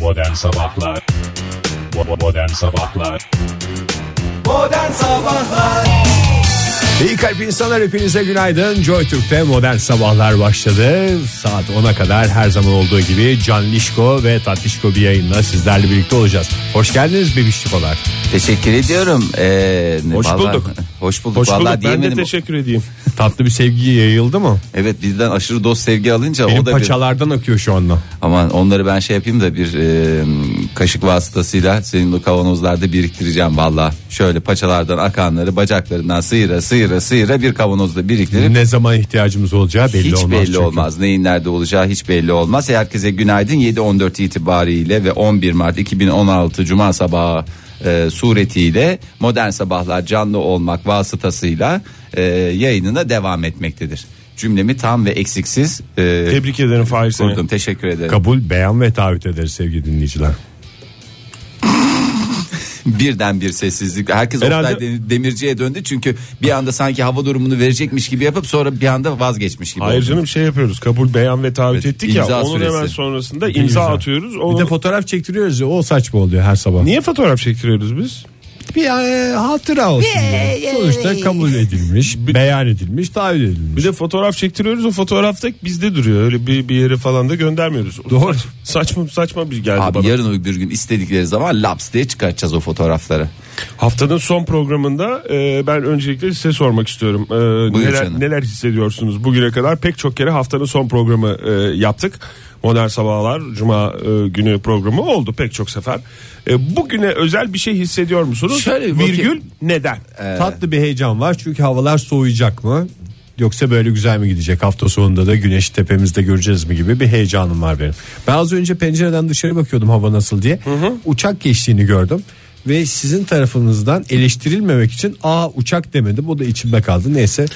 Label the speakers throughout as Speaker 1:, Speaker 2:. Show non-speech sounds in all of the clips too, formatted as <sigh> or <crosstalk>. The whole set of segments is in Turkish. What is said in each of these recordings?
Speaker 1: Modern Sabahlar Bo- Modern Sabahlar
Speaker 2: Modern Sabahlar
Speaker 3: İyi kalp insanlar hepinize günaydın. Joy Türk'te modern sabahlar başladı. Saat 10'a kadar her zaman olduğu gibi Can Lişko ve Tatlişko bir yayınla sizlerle birlikte olacağız. Hoş geldiniz bebişçikolar.
Speaker 2: Teşekkür ediyorum. Ee,
Speaker 4: Hoş
Speaker 2: vallahi-
Speaker 4: bulduk.
Speaker 2: <laughs> Hoş bulduk.
Speaker 4: Hoş
Speaker 2: vallahi
Speaker 4: bulduk. Ben de
Speaker 2: diyemedim.
Speaker 4: teşekkür edeyim.
Speaker 3: Tatlı bir sevgi yayıldı mı?
Speaker 2: Evet bizden aşırı dost sevgi alınca
Speaker 3: Benim
Speaker 2: o da bir...
Speaker 3: paçalardan akıyor şu anda.
Speaker 2: Aman onları ben şey yapayım da bir e, kaşık vasıtasıyla senin o kavanozlarda biriktireceğim valla. Şöyle paçalardan akanları bacaklarından sıyıra sıyıra sıyıra bir kavanozda biriktirip
Speaker 3: Ne zaman ihtiyacımız olacağı belli
Speaker 2: hiç
Speaker 3: olmaz.
Speaker 2: belli
Speaker 3: çünkü.
Speaker 2: olmaz. Neyin nerede olacağı hiç belli olmaz. Herkese günaydın 7.14 itibariyle ve 11 Mart 2016 Cuma sabahı e, suretiyle modern sabahlar canlı olmak vasıtasıyla e, yayınına devam etmektedir. Cümlemi tam ve eksiksiz e,
Speaker 4: Tebrik ederim Fahir seni.
Speaker 2: kurdum. Teşekkür ederim.
Speaker 3: Kabul, beyan ve taahhüt ederiz sevgili dinleyiciler.
Speaker 2: Birden bir sessizlik. Herkes
Speaker 4: Herhalde-
Speaker 2: Oktay Dem- Demirci'ye döndü çünkü bir anda sanki hava durumunu verecekmiş gibi yapıp sonra bir anda vazgeçmiş gibi.
Speaker 4: Hayır
Speaker 2: oldu.
Speaker 4: canım şey yapıyoruz. Kabul beyan ve taahhüt
Speaker 2: Evet,
Speaker 4: ettik ya.
Speaker 2: imza
Speaker 4: Onun hemen
Speaker 2: süresi.
Speaker 4: sonrasında imza atıyoruz. Onu...
Speaker 3: Bir de fotoğraf çektiriyoruz ya, o saçma oluyor her sabah.
Speaker 4: Niye fotoğraf çektiriyoruz biz?
Speaker 3: Bir e, hatıra olsun. diye. Sonuçta kabul edilmiş, beyan edilmiş, taahhüt edilmiş.
Speaker 4: Bir de fotoğraf çektiriyoruz. O fotoğrafta bizde duruyor. Öyle bir, bir yere falan da göndermiyoruz.
Speaker 3: Doğru.
Speaker 4: Saçma saçma bir geldi
Speaker 2: Abi
Speaker 4: bana.
Speaker 2: yarın bir gün istedikleri zaman laps diye çıkartacağız o fotoğrafları.
Speaker 4: Haftanın son programında e, ben öncelikle size sormak istiyorum. E,
Speaker 2: Buyur
Speaker 4: neler,
Speaker 2: canım.
Speaker 4: neler hissediyorsunuz bugüne kadar? Pek çok kere haftanın son programı e, yaptık. Modern Sabahlar Cuma e, günü programı oldu pek çok sefer. E, bugüne özel bir şey hissediyor musunuz?
Speaker 2: Şöyle bir bakayım.
Speaker 4: Virgül neden?
Speaker 3: Tatlı bir heyecan var çünkü havalar soğuyacak mı? Yoksa böyle güzel mi gidecek hafta sonunda da güneş tepemizde göreceğiz mi gibi bir heyecanım var benim. Ben az önce pencereden dışarı bakıyordum hava nasıl diye. Uçak geçtiğini gördüm. Ve sizin tarafınızdan eleştirilmemek için aa uçak demedim o da içimde kaldı. Neyse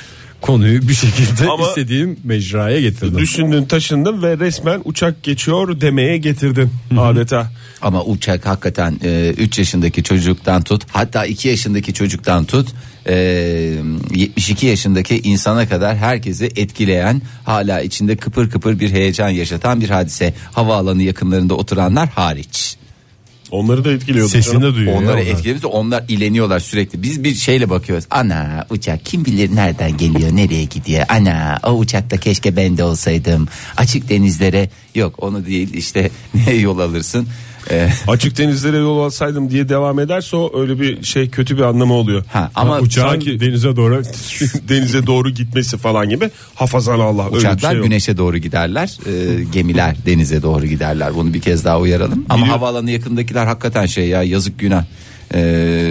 Speaker 3: konuyu bir şekilde
Speaker 4: Ama-
Speaker 3: istediğim mecraya getirdim.
Speaker 4: Düşündün taşındın ve resmen uçak geçiyor demeye getirdin adeta.
Speaker 2: Ama uçak hakikaten 3 yaşındaki çocuktan tut hatta 2 yaşındaki çocuktan tut e, 72 yaşındaki insana kadar herkesi etkileyen hala içinde kıpır kıpır bir heyecan yaşatan bir hadise. Havaalanı yakınlarında oturanlar hariç.
Speaker 4: Onları da etkiliyordu.
Speaker 3: Sesini
Speaker 4: canım.
Speaker 3: de duyuyor.
Speaker 2: Onları
Speaker 3: ya onlar.
Speaker 2: etkilemiz onlar ileniyorlar sürekli. Biz bir şeyle bakıyoruz. Ana uçak kim bilir nereden geliyor nereye gidiyor. Ana o uçakta keşke ben de olsaydım. Açık denizlere yok onu değil işte <laughs> ne yol alırsın. E,
Speaker 4: Açık denizlere yol alsaydım diye devam ederse o öyle bir şey kötü bir anlamı oluyor.
Speaker 2: ha, ama
Speaker 3: Uçağın
Speaker 4: Sanki-
Speaker 3: denize doğru
Speaker 4: <laughs> denize doğru gitmesi falan gibi hafazan Allah öyle bir
Speaker 2: Uçaklar
Speaker 4: şey yok.
Speaker 2: güneşe doğru giderler, e, gemiler denize doğru giderler. Bunu bir kez daha uyaralım. Ama havaalanı yakındakiler hakikaten şey ya yazık günah. E,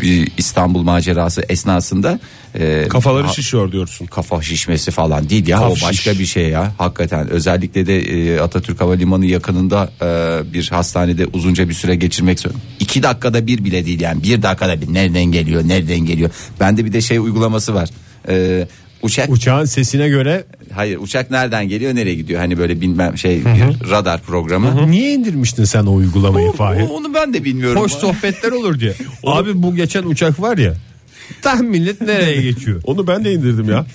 Speaker 2: bir İstanbul macerası esnasında e,
Speaker 4: Kafaları
Speaker 2: ha-
Speaker 4: şişiyor diyorsun.
Speaker 2: kafa şişmesi falan değil ya
Speaker 4: Kaf
Speaker 2: o başka
Speaker 4: şiş.
Speaker 2: bir şey ya hakikaten özellikle de e, Atatürk Havalimanı yakınında e, bir hastanede uzunca bir süre geçirmek zorunda. iki dakikada bir bile değil yani bir dakikada bir nereden geliyor nereden geliyor bende bir de şey uygulaması var E, uçak
Speaker 3: uçağın sesine göre
Speaker 2: Hayır uçak nereden geliyor nereye gidiyor hani böyle bilmem şey bir radar programı.
Speaker 3: niye indirmiştin sen o uygulamayı Fahir?
Speaker 2: O- Onu ben de bilmiyorum.
Speaker 3: Hoş sohbetler olur diye. Abi bu geçen uçak var ya. Tam millet
Speaker 2: <laughs>
Speaker 3: nereye geçiyor?
Speaker 4: Onu ben de indirdim ya.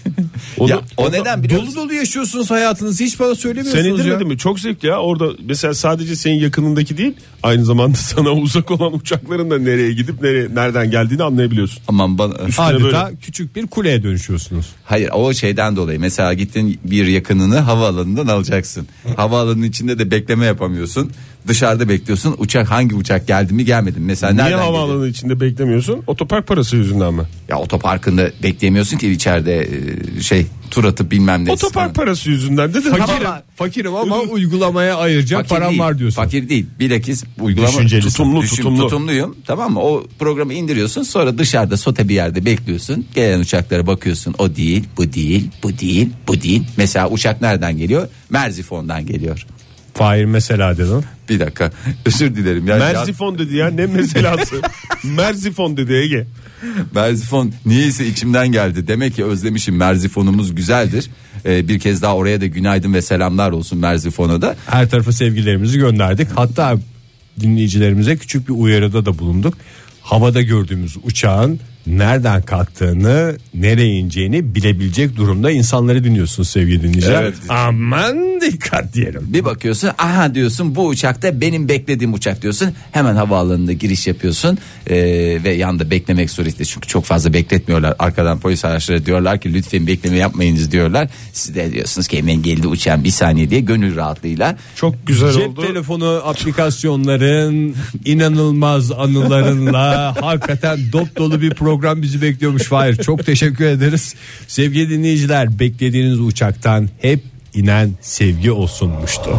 Speaker 4: Onu,
Speaker 2: Ya, o neden biliyor
Speaker 3: Dolu
Speaker 2: musun?
Speaker 3: dolu yaşıyorsunuz hayatınızı hiç bana söylemiyorsunuz
Speaker 4: sen
Speaker 3: ya.
Speaker 4: indirmedin mi? Çok zevkli ya. Orada mesela sadece senin yakınındaki değil, aynı zamanda <laughs> sana uzak olan uçakların da nereye gidip nereye nereden geldiğini anlayabiliyorsun.
Speaker 2: Aman bana.
Speaker 3: Adeta küçük bir kuleye dönüşüyorsunuz.
Speaker 2: <laughs> Hayır o şeyden dolayı mesela gittin bir yakınını havaalanından alacaksın. Havaalanının içinde de bekleme yapamıyorsun. Dışarıda bekliyorsun. Uçak hangi uçak geldi mi gelmedi mi? Mesela
Speaker 4: Niye
Speaker 2: nereden
Speaker 4: havaalanı
Speaker 2: geliyor?
Speaker 4: içinde beklemiyorsun? Otopark parası yüzünden mi?
Speaker 2: Ya otoparkında bekleyemiyorsun ki içeride e, şey tur atıp bilmem ne.
Speaker 4: Otopark parası yüzünden dedin.
Speaker 3: Fakirim, fakirim ama uygulamaya ayıracak
Speaker 2: Fakir
Speaker 3: param
Speaker 2: değil,
Speaker 3: var diyorsun.
Speaker 2: Fakir değil. Bilakis uygulama
Speaker 3: Düşünceli.
Speaker 4: Tutumlu,
Speaker 2: Düşün-
Speaker 4: tutumlu.
Speaker 2: tutumluyum. Tamam mı? O programı indiriyorsun. Sonra dışarıda sote bir yerde bekliyorsun. Gelen uçaklara bakıyorsun. O değil, bu değil, bu değil, bu değil. Mesela uçak nereden geliyor? Merzifon'dan geliyor.
Speaker 3: Fahir mesela dedim.
Speaker 2: Bir dakika. <laughs> Özür dilerim. Ya,
Speaker 4: Merzifon dedi ya ne
Speaker 3: <laughs>
Speaker 4: meselası? Merzifon dedi Ege.
Speaker 2: Ya- Merzifon niyeyse içimden geldi. Demek ki özlemişim. Merzifon'umuz güzeldir. Ee, bir kez daha oraya da günaydın ve selamlar olsun Merzifon'a da.
Speaker 3: Her tarafa sevgilerimizi gönderdik. Hatta dinleyicilerimize küçük bir uyarıda da bulunduk. Havada gördüğümüz uçağın nereden kalktığını, nereye ineceğini bilebilecek durumda insanları dinliyorsunuz sevgili dinleyiciler.
Speaker 4: Evet.
Speaker 3: Aman dikkat diyelim.
Speaker 2: Bir bakıyorsun aha diyorsun bu uçakta benim beklediğim uçak diyorsun. Hemen havaalanında giriş yapıyorsun Ee, ve yanda beklemek suretiyle çünkü çok fazla bekletmiyorlar. Arkadan polis araçları diyorlar ki lütfen bekleme yapmayınız diyorlar. Siz de diyorsunuz ki hemen geldi uçağın bir saniye diye gönül rahatlığıyla.
Speaker 4: Çok güzel
Speaker 3: Cep
Speaker 4: oldu.
Speaker 3: telefonu aplikasyonların
Speaker 4: <laughs>
Speaker 3: inanılmaz anılarınla hakikaten dop dolu bir program bizi bekliyormuş. Hayır çok teşekkür ederiz. Sevgili dinleyiciler beklediğiniz uçaktan hep inen sevgi olsunmuştu.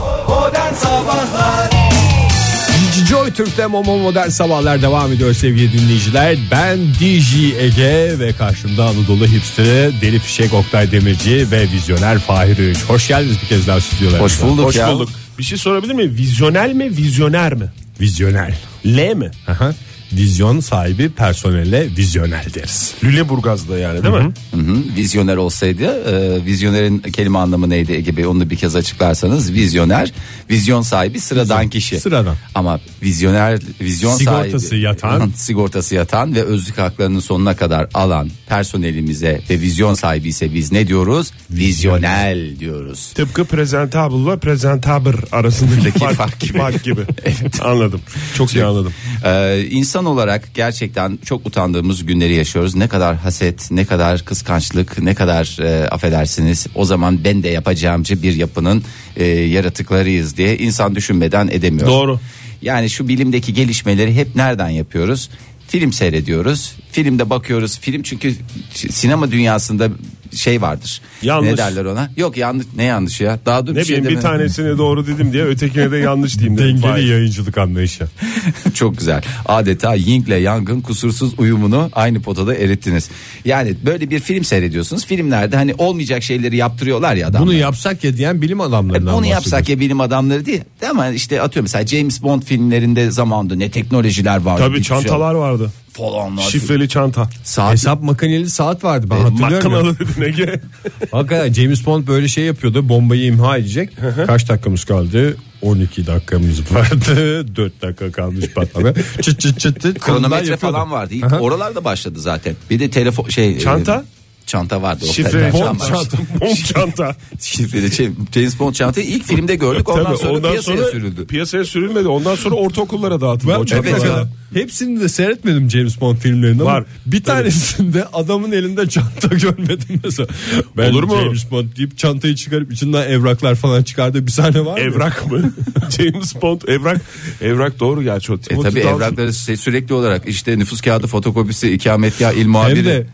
Speaker 3: Joy Türk'te Momo Modern Sabahlar devam ediyor sevgili dinleyiciler. Ben DJ Ege ve karşımda Anadolu Hipster'ı Deli Fişek Oktay Demirci ve vizyoner Fahir Öğünç. Hoş geldiniz bir kez daha stüdyolarımıza.
Speaker 2: Hoş bulduk
Speaker 4: Hoş
Speaker 2: ya.
Speaker 4: bulduk. Bir şey sorabilir miyim? Vizyonel mi, vizyoner mi?
Speaker 3: Vizyoner.
Speaker 4: L mi?
Speaker 3: Aha. Vizyon sahibi personele vizyoner deriz.
Speaker 4: Lüleburgaz'da yani değil mi?
Speaker 2: Hı hı, vizyoner olsaydı e, vizyonerin kelime anlamı neydi Ege Bey onu da bir kez açıklarsanız vizyoner vizyon sahibi sıradan kişi
Speaker 3: sıradan.
Speaker 2: ama vizyoner vizyon
Speaker 3: Sigortası
Speaker 2: sahibi
Speaker 3: yatan.
Speaker 2: <laughs> sigortası yatan ve özlük haklarının sonuna kadar alan personelimize ve vizyon sahibi ise biz ne diyoruz vizyonel diyoruz
Speaker 4: Tıpkı presentable ile presentable arasındaki fark,
Speaker 2: <laughs> fark gibi. Şey,
Speaker 4: gibi.
Speaker 2: <laughs>
Speaker 4: Fark gibi. Anladım. Çok iyi anladım.
Speaker 2: Ee, insan olarak gerçekten çok utandığımız günleri yaşıyoruz. Ne kadar haset, ne kadar kıskançlık, ne kadar e, affedersiniz. O zaman ben de yapacağımcı bir yapının e, yaratıklarıyız diye insan düşünmeden edemiyor.
Speaker 4: Doğru.
Speaker 2: Yani şu bilimdeki gelişmeleri hep nereden yapıyoruz? Film seyrediyoruz. Filmde bakıyoruz. Film çünkü sinema dünyasında şey vardır.
Speaker 4: Yanlış.
Speaker 2: Ne derler ona? Yok yanlış. Ne yanlış ya? Daha dur
Speaker 4: Ne bileyim bir
Speaker 2: şey demedim.
Speaker 4: tanesini doğru dedim diye ötekine de yanlış diyeyim dedim.
Speaker 3: Dengeli
Speaker 4: Fahir.
Speaker 3: yayıncılık anlayışı.
Speaker 2: <laughs> Çok güzel. Adeta Ying'le Yang'ın kusursuz uyumunu aynı potada erittiniz. Yani böyle bir film seyrediyorsunuz. Filmlerde hani olmayacak şeyleri yaptırıyorlar ya adamlar.
Speaker 3: Bunu yapsak ya diyen bilim adamlarından
Speaker 2: Bunu
Speaker 3: bahsediyoruz.
Speaker 2: yapsak ya bilim adamları değil. Ama işte atıyorum mesela James Bond filmlerinde zamanında ne teknolojiler vardı.
Speaker 4: Tabii
Speaker 2: bir şey
Speaker 4: çantalar vardı.
Speaker 2: falanlar.
Speaker 4: Şifreli çanta.
Speaker 2: Saat
Speaker 3: Hesap makineli saat vardı ben hatırlıyorum. ya.
Speaker 4: Makinalı
Speaker 2: <laughs>
Speaker 4: dedin Ege.
Speaker 3: <laughs> Hakikaten James Bond böyle şey yapıyordu. Bombayı imha edecek. Kaç dakikamız kaldı? 12 dakikamız vardı. <laughs> 4 dakika kalmış patlama. çıt çıt çıt çıt. Onlar
Speaker 2: kronometre
Speaker 3: yapıyordu.
Speaker 2: falan vardı. İlk oralarda başladı zaten. Bir de telefon şey.
Speaker 4: Çanta?
Speaker 2: e, çanta vardı. O
Speaker 4: Şifreli
Speaker 2: perden
Speaker 4: bomb
Speaker 2: çanta.
Speaker 4: çanta. Bomb çanta.
Speaker 2: Şifreli şey, James Bond çantayı ilk filmde gördük. Ondan
Speaker 4: <laughs> Tabii,
Speaker 2: sonra piyasaya sürüldü.
Speaker 4: Piyasaya sürülmedi. Ondan sonra ortaokullara dağıtıldı
Speaker 3: Ben
Speaker 4: o
Speaker 3: çok
Speaker 2: Evet
Speaker 4: çantalar.
Speaker 3: mesela hepsini de seyretmedim James Bond filmlerini ama
Speaker 4: Var.
Speaker 3: bir tanesinde <laughs> adamın elinde çanta görmedim mesela. Ben
Speaker 4: Olur mu?
Speaker 3: James Bond deyip çantayı çıkarıp içinden evraklar falan çıkardığı bir sahne var mı?
Speaker 4: Evrak mı? <laughs> James Bond evrak. Evrak doğru gerçi o.
Speaker 2: E
Speaker 4: Timothy
Speaker 2: tabi
Speaker 4: Dalton.
Speaker 2: evrakları sü- sürekli olarak işte nüfus kağıdı fotokopisi ikametgah il muhabiri.
Speaker 3: Hem de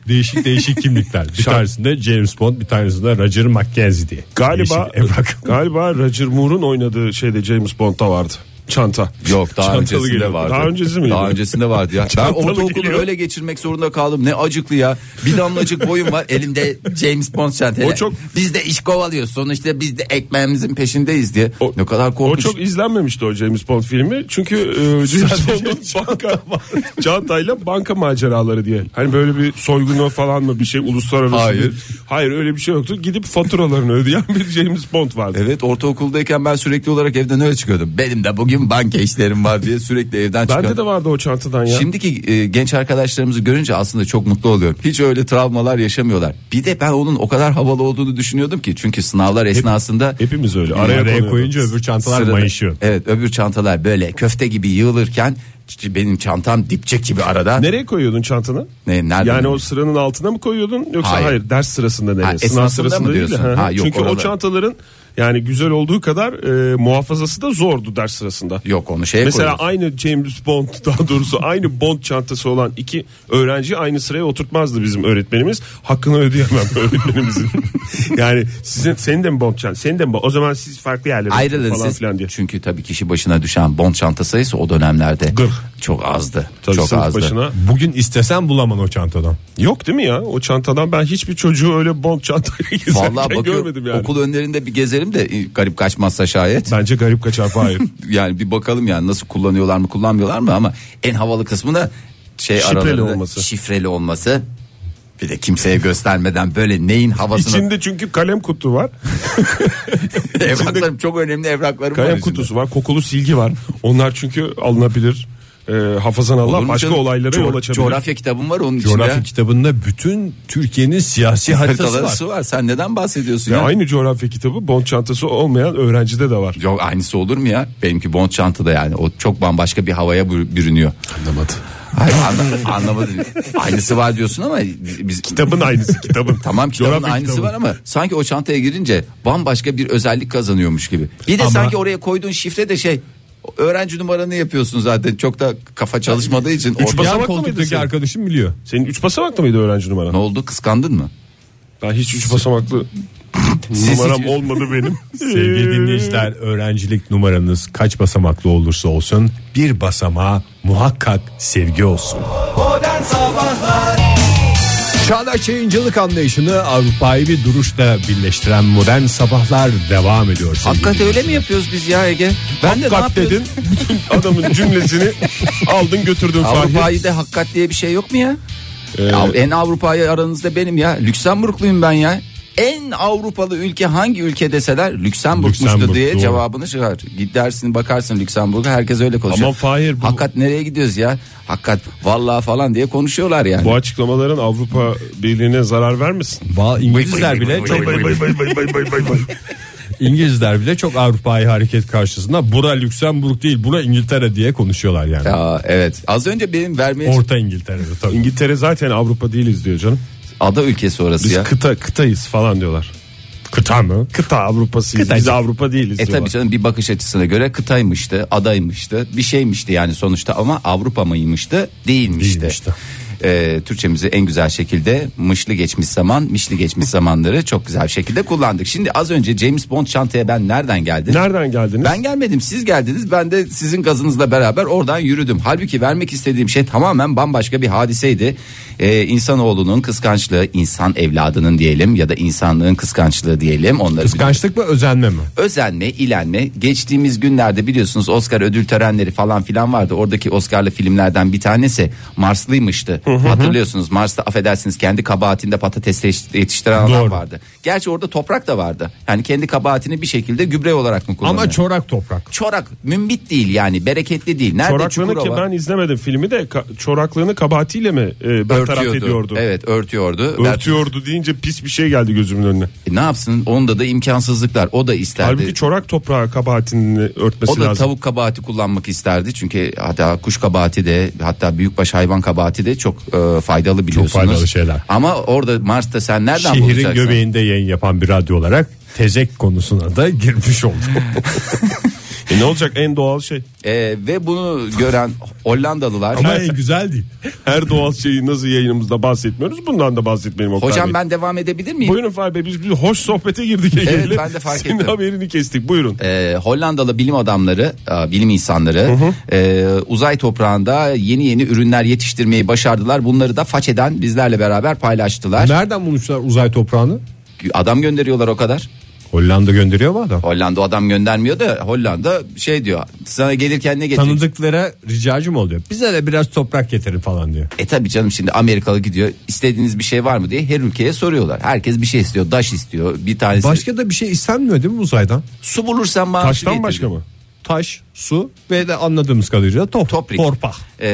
Speaker 4: <laughs>
Speaker 3: değişik değişik kimlikler. Bir
Speaker 4: Şan-
Speaker 3: tanesinde James Bond, bir tanesinde Roger Mackenzie diye.
Speaker 4: Galiba
Speaker 3: Değişik evrak.
Speaker 4: galiba Roger Moore'un oynadığı şeyde James Bond'da vardı. Çanta.
Speaker 2: Yok daha
Speaker 4: Çantalı
Speaker 2: öncesinde
Speaker 4: geliyor.
Speaker 2: vardı.
Speaker 4: Daha öncesi miydi?
Speaker 2: Daha öncesinde vardı
Speaker 4: <laughs>
Speaker 2: ya. ben
Speaker 4: Çantalı
Speaker 2: ortaokulu
Speaker 4: geliyor.
Speaker 2: öyle geçirmek zorunda kaldım. Ne acıklı ya. Bir damlacık boyum var. Elimde James Bond çantayı.
Speaker 4: O çok-
Speaker 2: Biz de iş kovalıyoruz. Sonuçta biz de ekmeğimizin peşindeyiz diye.
Speaker 4: O-
Speaker 2: ne kadar
Speaker 4: O
Speaker 2: korkunç.
Speaker 4: çok izlenmemişti o James Bond filmi. Çünkü
Speaker 2: <laughs>
Speaker 4: e, James Bond'un <laughs> banka çantayla banka maceraları diye. Hani böyle bir soygunu falan mı bir şey uluslararası.
Speaker 2: Hayır.
Speaker 4: bir- Hayır öyle bir şey yoktu. Gidip faturalarını ödeyen bir James Bond vardı.
Speaker 2: Evet ortaokuldayken ben sürekli olarak evden öyle çıkıyordum. Benim de bugün banka işlerim var diye sürekli evden çıkıyordum.
Speaker 4: Bende de vardı o çantadan ya.
Speaker 2: Şimdiki e, genç arkadaşlarımızı görünce aslında çok mutlu oluyorum. Hiç öyle travmalar yaşamıyorlar. Bir de ben onun o kadar havalı olduğunu düşünüyordum ki çünkü sınavlar esnasında
Speaker 4: Hepimiz öyle. <laughs>
Speaker 3: Araya,
Speaker 4: Araya, konuyordu.
Speaker 3: koyunca öbür çantalar
Speaker 2: sırada-
Speaker 3: mayışıyor.
Speaker 2: Evet, öbür çantalar böyle köfte gibi yığılırken ç- benim çantam dipçek gibi arada.
Speaker 4: Nereye koyuyordun çantanı?
Speaker 2: Ne, nereden?
Speaker 4: Yani o sıranın altına mı koyuyordun yoksa
Speaker 2: Hayır.
Speaker 4: hayır, ders sırasında nereye?
Speaker 2: Ha,
Speaker 4: Sınav
Speaker 2: esnasında
Speaker 4: sırasında
Speaker 2: mı
Speaker 4: değil de.
Speaker 2: diyorsun?
Speaker 4: hı hı.
Speaker 2: Ha, yok,
Speaker 4: Çünkü o
Speaker 2: oralar-
Speaker 4: çantaların yani güzel olduğu kadar e, muhafazası da zordu ders sırasında.
Speaker 2: Yok onu şeye
Speaker 4: Mesela
Speaker 2: koyuyoruz.
Speaker 4: aynı James Bond <laughs> daha doğrusu aynı Bond çantası olan iki öğrenci aynı sıraya oturtmazdı bizim öğretmenimiz. Hakkını ödeyemem <laughs> öğretmenimizin. yani sizin senin de mi Bond çantası? Senin de mi? Bond? O zaman siz farklı yerlere
Speaker 2: Ayrılın
Speaker 4: şey falan
Speaker 2: siz.
Speaker 4: filan diye.
Speaker 2: Çünkü tabii kişi başına düşen bon çanta sayısı o dönemlerde
Speaker 4: Gırh.
Speaker 2: çok azdı.
Speaker 4: Tabii
Speaker 2: çok
Speaker 4: sınıf
Speaker 2: azdı.
Speaker 4: başına.
Speaker 3: Bugün istesen bulaman o çantadan.
Speaker 4: Yok değil mi ya? O çantadan ben hiçbir çocuğu öyle Bond çantayla <laughs>
Speaker 2: Vallahi
Speaker 4: gezerken
Speaker 2: bakıyorum
Speaker 4: görmedim yani.
Speaker 2: okul önlerinde bir gezerim de e, garip kaçmazsa şayet.
Speaker 4: Bence garip kaçar <laughs> Fahir.
Speaker 2: yani bir bakalım yani nasıl kullanıyorlar mı kullanmıyorlar mı ama en havalı kısmı da şey
Speaker 4: Şifreli
Speaker 2: aralarında
Speaker 4: olması.
Speaker 2: şifreli olması. Bir de kimseye göstermeden böyle neyin havasını
Speaker 4: İçinde çünkü kalem kutu var.
Speaker 2: <laughs> evraklarım çok önemli evraklarım var
Speaker 4: Kalem
Speaker 2: içinde.
Speaker 4: kutusu var. Kokulu silgi var. Onlar çünkü alınabilir e, hafazan Allah
Speaker 2: Olur mu
Speaker 4: başka
Speaker 2: canım?
Speaker 4: olaylara
Speaker 2: Co-
Speaker 4: yol açabilir.
Speaker 2: Coğrafya kitabım var onun
Speaker 3: Coğrafya
Speaker 2: içinde.
Speaker 3: kitabında bütün Türkiye'nin siyasi haritası var.
Speaker 2: Haritaları var. Sen neden bahsediyorsun
Speaker 4: Ya
Speaker 2: ya?
Speaker 4: aynı coğrafya kitabı bond çantası olmayan öğrencide de var.
Speaker 2: Yok aynısı olur mu ya? Benimki bond çantada yani. O çok bambaşka bir havaya bür- bürünüyor.
Speaker 3: Anlamadı.
Speaker 2: Hayır, anla- anlamadım. Aynısı var diyorsun ama biz
Speaker 4: Kitabın aynısı <laughs> kitabın.
Speaker 2: Tamam kitabın
Speaker 4: Coğrafya
Speaker 2: aynısı
Speaker 4: kitabı.
Speaker 2: var ama sanki o çantaya girince bambaşka bir özellik kazanıyormuş gibi. Bir de
Speaker 3: Ama-
Speaker 2: sanki oraya koyduğun şifre de şey öğrenci numaranı yapıyorsun zaten çok da kafa çalışmadığı için. Orada-
Speaker 4: basamak-
Speaker 3: Yan
Speaker 4: Basamaklı mıydı
Speaker 3: koltuktaki
Speaker 4: sen?
Speaker 3: arkadaşım biliyor.
Speaker 4: Senin 3 basamaklı mıydı öğrenci numaran?
Speaker 2: Ne oldu kıskandın mı?
Speaker 4: Ben hiç 3 basamaklı
Speaker 2: Siz
Speaker 4: numaram
Speaker 3: <laughs>
Speaker 2: hiç-
Speaker 4: olmadı benim.
Speaker 3: Sevgili dinleyiciler öğrencilik numaranız kaç basamaklı olursa olsun bir basamağa muhakkak sevgi olsun. Çağdaş yayıncılık anlayışını Avrupa'yı bir duruşla birleştiren modern sabahlar devam ediyor. sevgili
Speaker 2: Hakikaten öyle mi
Speaker 3: dinleyiciler.
Speaker 2: yapıyoruz biz ya Ege? Ben de ne
Speaker 4: Kat
Speaker 2: yapıyorsun?
Speaker 4: dedin
Speaker 3: <laughs>
Speaker 4: bütün adamın cümlesini aldın götürdün Fahir.
Speaker 2: Avrupa'yı da hakikat diye bir şey yok mu ya?
Speaker 4: Ee,
Speaker 2: Ya en Avrupa'yı aranızda benim ya. Lüksemburgluyum ben ya. En Avrupalı ülke hangi ülke deseler Lüksemburg'muştu
Speaker 3: Lüksemburg,
Speaker 2: diye
Speaker 3: doğru.
Speaker 2: cevabını çıkar. Gidersin bakarsın Lüksemburg'a herkes öyle konuşuyor.
Speaker 4: Ama Fahir bu-
Speaker 2: Hakikat nereye gidiyoruz ya? Hakikat vallahi falan diye konuşuyorlar yani.
Speaker 4: Bu açıklamaların Avrupa Birliği'ne zarar vermesin.
Speaker 3: Va- İngilizler bile çok İngilizler bile çok Avrupa'yı hareket karşısında bura Lüksemburg değil bura İngiltere diye konuşuyorlar yani.
Speaker 2: Ya, evet. Az önce benim vermeye
Speaker 3: Orta İngiltere'de tabii.
Speaker 4: İngiltere zaten Avrupa değiliz diyor canım.
Speaker 2: ada ülkesi orası
Speaker 4: Biz
Speaker 2: ya.
Speaker 4: kıta kıtayız falan diyorlar.
Speaker 3: Kıta mı?
Speaker 4: Kıta Avrupa'sıyız.
Speaker 3: Kıtacık.
Speaker 4: Biz Avrupa değiliz
Speaker 2: E tabii
Speaker 4: diyorlar.
Speaker 2: canım bir bakış açısına göre kıtaymıştı, adaymıştı, bir şeymişti yani sonuçta ama Avrupa mıymıştı, değilmişti.
Speaker 3: Değilmişti.
Speaker 2: E, Türkçemizi en güzel şekilde mışlı geçmiş zaman, mişli geçmiş zamanları çok güzel bir şekilde kullandık. Şimdi az önce James Bond çantaya ben nereden geldim?
Speaker 4: Nereden geldiniz?
Speaker 2: Ben gelmedim siz geldiniz ben de sizin gazınızla beraber oradan yürüdüm. Halbuki vermek istediğim şey tamamen bambaşka bir hadiseydi. Ee, insanoğlunun kıskançlığı insan evladının diyelim ya da insanlığın kıskançlığı diyelim. Onları
Speaker 3: Kıskançlık mı özenme mi?
Speaker 2: özenme, ilenme. Geçtiğimiz günlerde biliyorsunuz Oscar ödül törenleri falan filan vardı. Oradaki Oscar'lı filmlerden bir tanesi Marslıymıştı. Hatırlıyorsunuz Mars'ta affedersiniz kendi kabahatinde patates yetiş- yetiştiren adam
Speaker 3: Doğru.
Speaker 2: vardı. Gerçi orada toprak da vardı. Yani kendi kabahatini bir şekilde gübre olarak mı kullanıyor?
Speaker 3: Ama çorak toprak.
Speaker 2: çorak mümbit değil yani bereketli değil. Nerede
Speaker 4: Çoraklığını ki
Speaker 2: Çukurova?
Speaker 4: ben izlemedim filmi de ka- çoraklığını kabahatiyle mi e, bertaraf ediyordu?
Speaker 2: Evet örtüyordu.
Speaker 4: Örtüyordu deyince pis bir şey geldi gözümün önüne.
Speaker 2: E, ne yapsın onda da imkansızlıklar o da isterdi.
Speaker 4: Halbuki çorak toprağı kabahatini örtmesi
Speaker 2: O da
Speaker 4: lazım.
Speaker 2: tavuk kabahati kullanmak isterdi çünkü hatta kuş kabahati de hatta büyükbaş hayvan kabahati de çok e, faydalı biliyorsunuz.
Speaker 3: faydalı şeyler.
Speaker 2: Ama orada Mars'ta sen nereden
Speaker 3: Şehrin
Speaker 2: bulacaksın?
Speaker 3: göbeğinde yayın yapan bir radyo olarak tezek konusuna da girmiş oldu.
Speaker 4: E ne olacak en doğal şey?
Speaker 2: E, ve bunu gören Hollandalılar.
Speaker 3: <laughs> Ama en güzel değil.
Speaker 4: Her doğal şeyi nasıl yayınımızda bahsetmiyoruz bundan da bahsetmeyelim Oktay
Speaker 2: Hocam
Speaker 4: Bey.
Speaker 2: ben devam edebilir miyim?
Speaker 4: Buyurun Fahri Bey biz bir hoş sohbete girdik.
Speaker 2: Evet,
Speaker 4: Ege'yle.
Speaker 2: ben de fark
Speaker 4: Senin
Speaker 2: ettim.
Speaker 4: haberini kestik buyurun.
Speaker 2: E, Hollandalı bilim adamları, e, bilim insanları e, uzay toprağında yeni yeni ürünler yetiştirmeyi başardılar. Bunları da façeden bizlerle beraber paylaştılar.
Speaker 3: Nereden bulmuşlar uzay toprağını?
Speaker 2: Adam gönderiyorlar o kadar.
Speaker 3: Hollanda gönderiyor mu adam?
Speaker 2: Hollanda o adam göndermiyor da Hollanda şey diyor. Sana gelirken ne getireceksin?
Speaker 3: Tanıdıklara ricacı mı oluyor? Bize de biraz toprak getirin falan diyor.
Speaker 2: E tabi canım şimdi Amerikalı gidiyor istediğiniz bir şey var mı diye her ülkeye soruyorlar. Herkes bir şey istiyor daş istiyor bir tanesi
Speaker 3: Başka da bir şey istenmiyor değil mi uzaydan?
Speaker 2: su bulursan bana su
Speaker 4: Taştan
Speaker 2: getir.
Speaker 4: başka mı?
Speaker 3: Taş, su ve de anladığımız kadarıyla top,
Speaker 2: Toprik.
Speaker 3: torpa.
Speaker 2: Ee,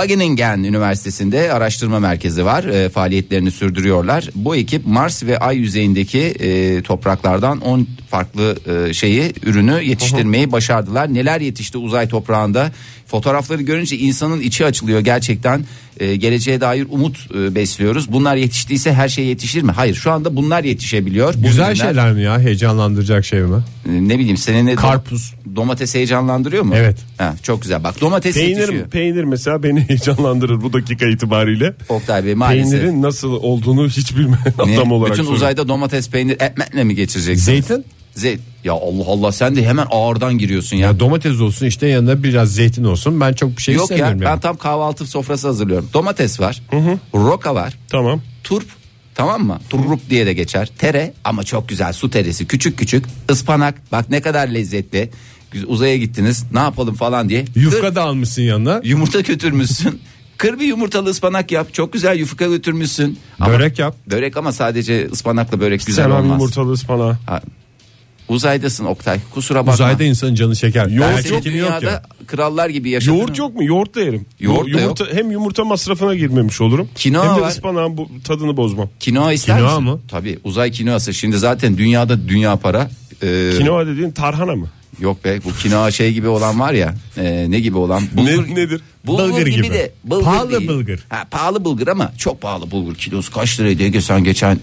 Speaker 2: Wageningen Üniversitesi'nde araştırma merkezi var. Ee, faaliyetlerini sürdürüyorlar. Bu ekip Mars ve Ay yüzeyindeki e, topraklardan 10 farklı e, şeyi, ürünü yetiştirmeyi başardılar. Neler yetişti uzay toprağında? Fotoğrafları görünce insanın içi açılıyor gerçekten. e, geleceğe dair umut e, besliyoruz. Bunlar yetiştiyse her şey yetişir mi? Hayır, şu anda bunlar yetişebiliyor. Bu
Speaker 3: Güzel
Speaker 2: ürünler-
Speaker 3: şeyler mi ya? Heyecanlandıracak şey mi?
Speaker 2: E, Ne bileyim senin ne
Speaker 3: Karpuz.
Speaker 2: domates heyecanlandırıyor mu?
Speaker 3: Evet.
Speaker 2: Ha, çok güzel. Bak domates yetişiyor.
Speaker 4: Peynir, peynir mesela beni <laughs> heyecanlandırır bu dakika itibariyle.
Speaker 2: Oktay Bey maalesef.
Speaker 4: Peynirin nasıl olduğunu hiç bilmeyen
Speaker 2: Ne?
Speaker 4: adam olarak.
Speaker 2: Bütün
Speaker 4: söylüyorum.
Speaker 2: uzayda domates peynir ekmekle mi geçireceksin?
Speaker 3: Zeytin?
Speaker 2: Zeyt. Ya Allah Allah sen de hemen ağırdan giriyorsun ya.
Speaker 3: Ya domates olsun işte yanına biraz zeytin olsun. Ben çok bir şey
Speaker 2: Yok ya
Speaker 3: istemiyorum. yani.
Speaker 2: ben tam kahvaltı sofrası hazırlıyorum. Domates var. Roka var.
Speaker 4: Tamam.
Speaker 2: Turp tamam mı? Turrup diye de geçer. Tere ama çok güzel su teresi küçük küçük. Ispanak bak ne kadar lezzetli. Güz- Uzaya gittiniz ne yapalım falan diye. Kır-
Speaker 3: Yufka da almışsın yanına.
Speaker 2: yumurta <laughs> götürmüşsün. Kır bir yumurtalı ıspanak yap. Çok güzel yufka götürmüşsün. Ama-
Speaker 3: Börek yap.
Speaker 2: Börek ama sadece ıspanakla börek güzel
Speaker 4: Sen
Speaker 2: olmaz.
Speaker 4: yumurtalı ıspanağı.
Speaker 2: Ha, Uzaydasın Oktay. Kusura bakma.
Speaker 3: Uzayda insanın canı çeker.
Speaker 4: Yoğurt
Speaker 2: Ben
Speaker 3: Yoğurt
Speaker 2: seni
Speaker 4: yok,
Speaker 2: dünyada
Speaker 3: ya.
Speaker 2: krallar gibi yaşadın.
Speaker 4: Yoğurt yok mu? Yoğurt da yerim.
Speaker 2: Yoğurt
Speaker 4: Yo-
Speaker 2: da
Speaker 4: yumurta, Hem yumurta masrafına girmemiş olurum.
Speaker 2: Kinoa
Speaker 4: hem de
Speaker 2: var.
Speaker 4: ıspanağın bu tadını bozmam.
Speaker 2: Kinoa ister
Speaker 3: Kinoa
Speaker 2: misin?
Speaker 3: mı?
Speaker 2: Tabii uzay kinoası. Şimdi zaten dünyada dünya para. Ee,
Speaker 4: Kinoa dediğin tarhana mı?
Speaker 2: Yok be bu kinoa şey gibi olan var ya. e, ne gibi olan? Bulgur,
Speaker 4: nedir?
Speaker 2: Bulgur
Speaker 3: Bulgur
Speaker 2: gibi,
Speaker 3: gibi.
Speaker 2: de. Bulgur
Speaker 3: Pahalı
Speaker 2: değil.
Speaker 3: bulgur.
Speaker 2: Ha, pahalı bulgur ama çok pahalı bulgur. Kilosu kaç liraydı Ege sen geçen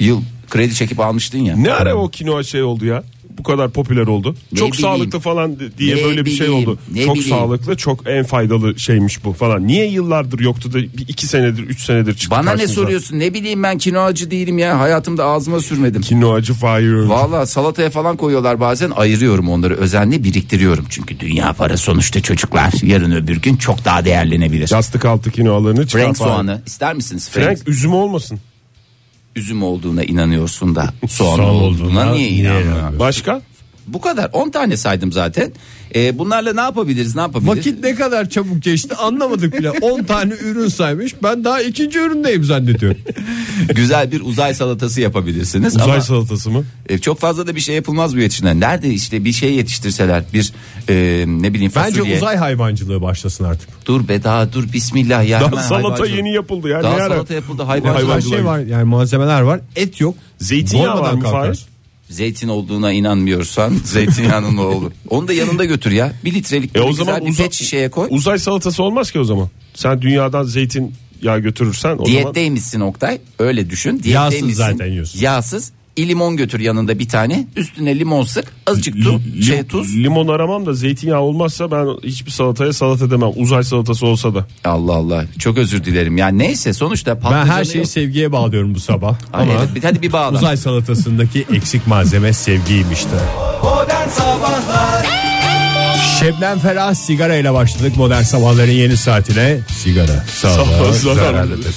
Speaker 2: yıl kredi çekip almıştın ya.
Speaker 4: Ne ara o kinoa şey oldu ya? Bu kadar popüler oldu.
Speaker 2: Ne
Speaker 4: çok
Speaker 2: bileyim.
Speaker 4: sağlıklı falan di- diye
Speaker 2: Ne
Speaker 4: böyle bir şey
Speaker 2: bileyim,
Speaker 4: oldu.
Speaker 2: ne
Speaker 4: çok
Speaker 2: bileyim.
Speaker 4: sağlıklı, çok en faydalı şeymiş bu falan. Niye yıllardır yoktu da bir iki senedir, üç senedir çıktı
Speaker 2: Bana ne
Speaker 4: karşımıza?
Speaker 2: soruyorsun? Ne bileyim ben kinoacı değilim ya. Hayatımda ağzıma sürmedim.
Speaker 4: Kinoacı Fahir.
Speaker 2: Valla salataya falan koyuyorlar bazen ayırıyorum onları özenle biriktiriyorum. Çünkü dünya para sonuçta çocuklar yarın öbür gün çok daha değerlenebilir.
Speaker 4: Yastık altı kinoalarını çıkar.
Speaker 2: Frank
Speaker 4: Fahir.
Speaker 2: soğanı ister misiniz? Frank,
Speaker 4: Frank üzümü olmasın.
Speaker 2: üzüm olduğuna inanıyorsun da soğan
Speaker 3: Soğan
Speaker 2: olduğuna
Speaker 3: olduğuna
Speaker 2: niye
Speaker 3: niye
Speaker 2: inanmıyorsun?
Speaker 3: inanmıyorsun?
Speaker 4: Başka?
Speaker 2: Bu kadar 10 tane saydım zaten. Ee, bunlarla ne yapabiliriz ne yapabiliriz?
Speaker 3: Vakit ne kadar çabuk geçti anlamadık bile. 10 tane ürün saymış. Ben daha ikinci üründeyim zannediyorum.
Speaker 2: <laughs> Güzel bir uzay salatası yapabilirsiniz.
Speaker 4: Uzay
Speaker 2: ama-
Speaker 4: salatası mı?
Speaker 2: E, çok fazla da bir şey yapılmaz bu yetişimden. Nerede işte bir şey yetiştirseler bir e, ne bileyim
Speaker 3: Bence
Speaker 2: fasulye.
Speaker 3: uzay hayvancılığı başlasın artık.
Speaker 2: Dur be daha dur bismillah ya.
Speaker 4: Daha
Speaker 2: Hemen
Speaker 4: salata
Speaker 2: hayvancılık.
Speaker 4: yeni yapıldı ya.
Speaker 2: Daha
Speaker 4: Ne ara?
Speaker 2: salata yapıldı hayvancılık.
Speaker 3: Her
Speaker 4: Hayvancılık.
Speaker 3: şey var yani malzemeler var. Et yok.
Speaker 4: Zeytinyağı
Speaker 3: Dolmadan
Speaker 4: var mı
Speaker 3: kalkar.
Speaker 4: Fahir?
Speaker 2: Zeytin olduğuna inanmıyorsan <laughs> zeytinyağının o olur. Onu da yanında götür ya. Bir litrelik
Speaker 4: E
Speaker 2: böyle
Speaker 4: o zaman
Speaker 2: güzel bir
Speaker 4: uza-
Speaker 2: pet şişeye koy.
Speaker 4: uzay salatası olmaz ki o zaman. Sen dünyadan zeytin yağı götürürsen o
Speaker 2: Diyetteymişsin Oktay. Öyle düşün. Diyetteymişsin.
Speaker 3: Yağsız zaten yiyorsun.
Speaker 2: Yağsız. İ limon götür yanında bir tane. Üstüne limon sık. Azıcık
Speaker 4: zaman
Speaker 2: tu,
Speaker 4: Lim-
Speaker 2: şey tuz.
Speaker 4: limon aramam da zeytinyağı olmazsa ben hiçbir salataya salata demem. Uzay salatası olsa da.
Speaker 2: Allah Allah. Çok özür dilerim. Yani neyse sonuçta
Speaker 3: Ben
Speaker 2: patlıcanı
Speaker 3: her şeyi
Speaker 2: yok.
Speaker 3: sevgiye bağlıyorum
Speaker 2: <laughs>
Speaker 3: bu sabah.
Speaker 2: Ay,
Speaker 3: Ama
Speaker 2: evet, bir- hadi bir bağla.
Speaker 3: uzay salatasındaki eksik malzeme sevgiymişti. Şebnem Ferah sigara ile başladık modern sabahların yeni saatine. Sigara sağlığa
Speaker 4: Sağlığa zararlıdır.
Speaker 3: zararlıdır.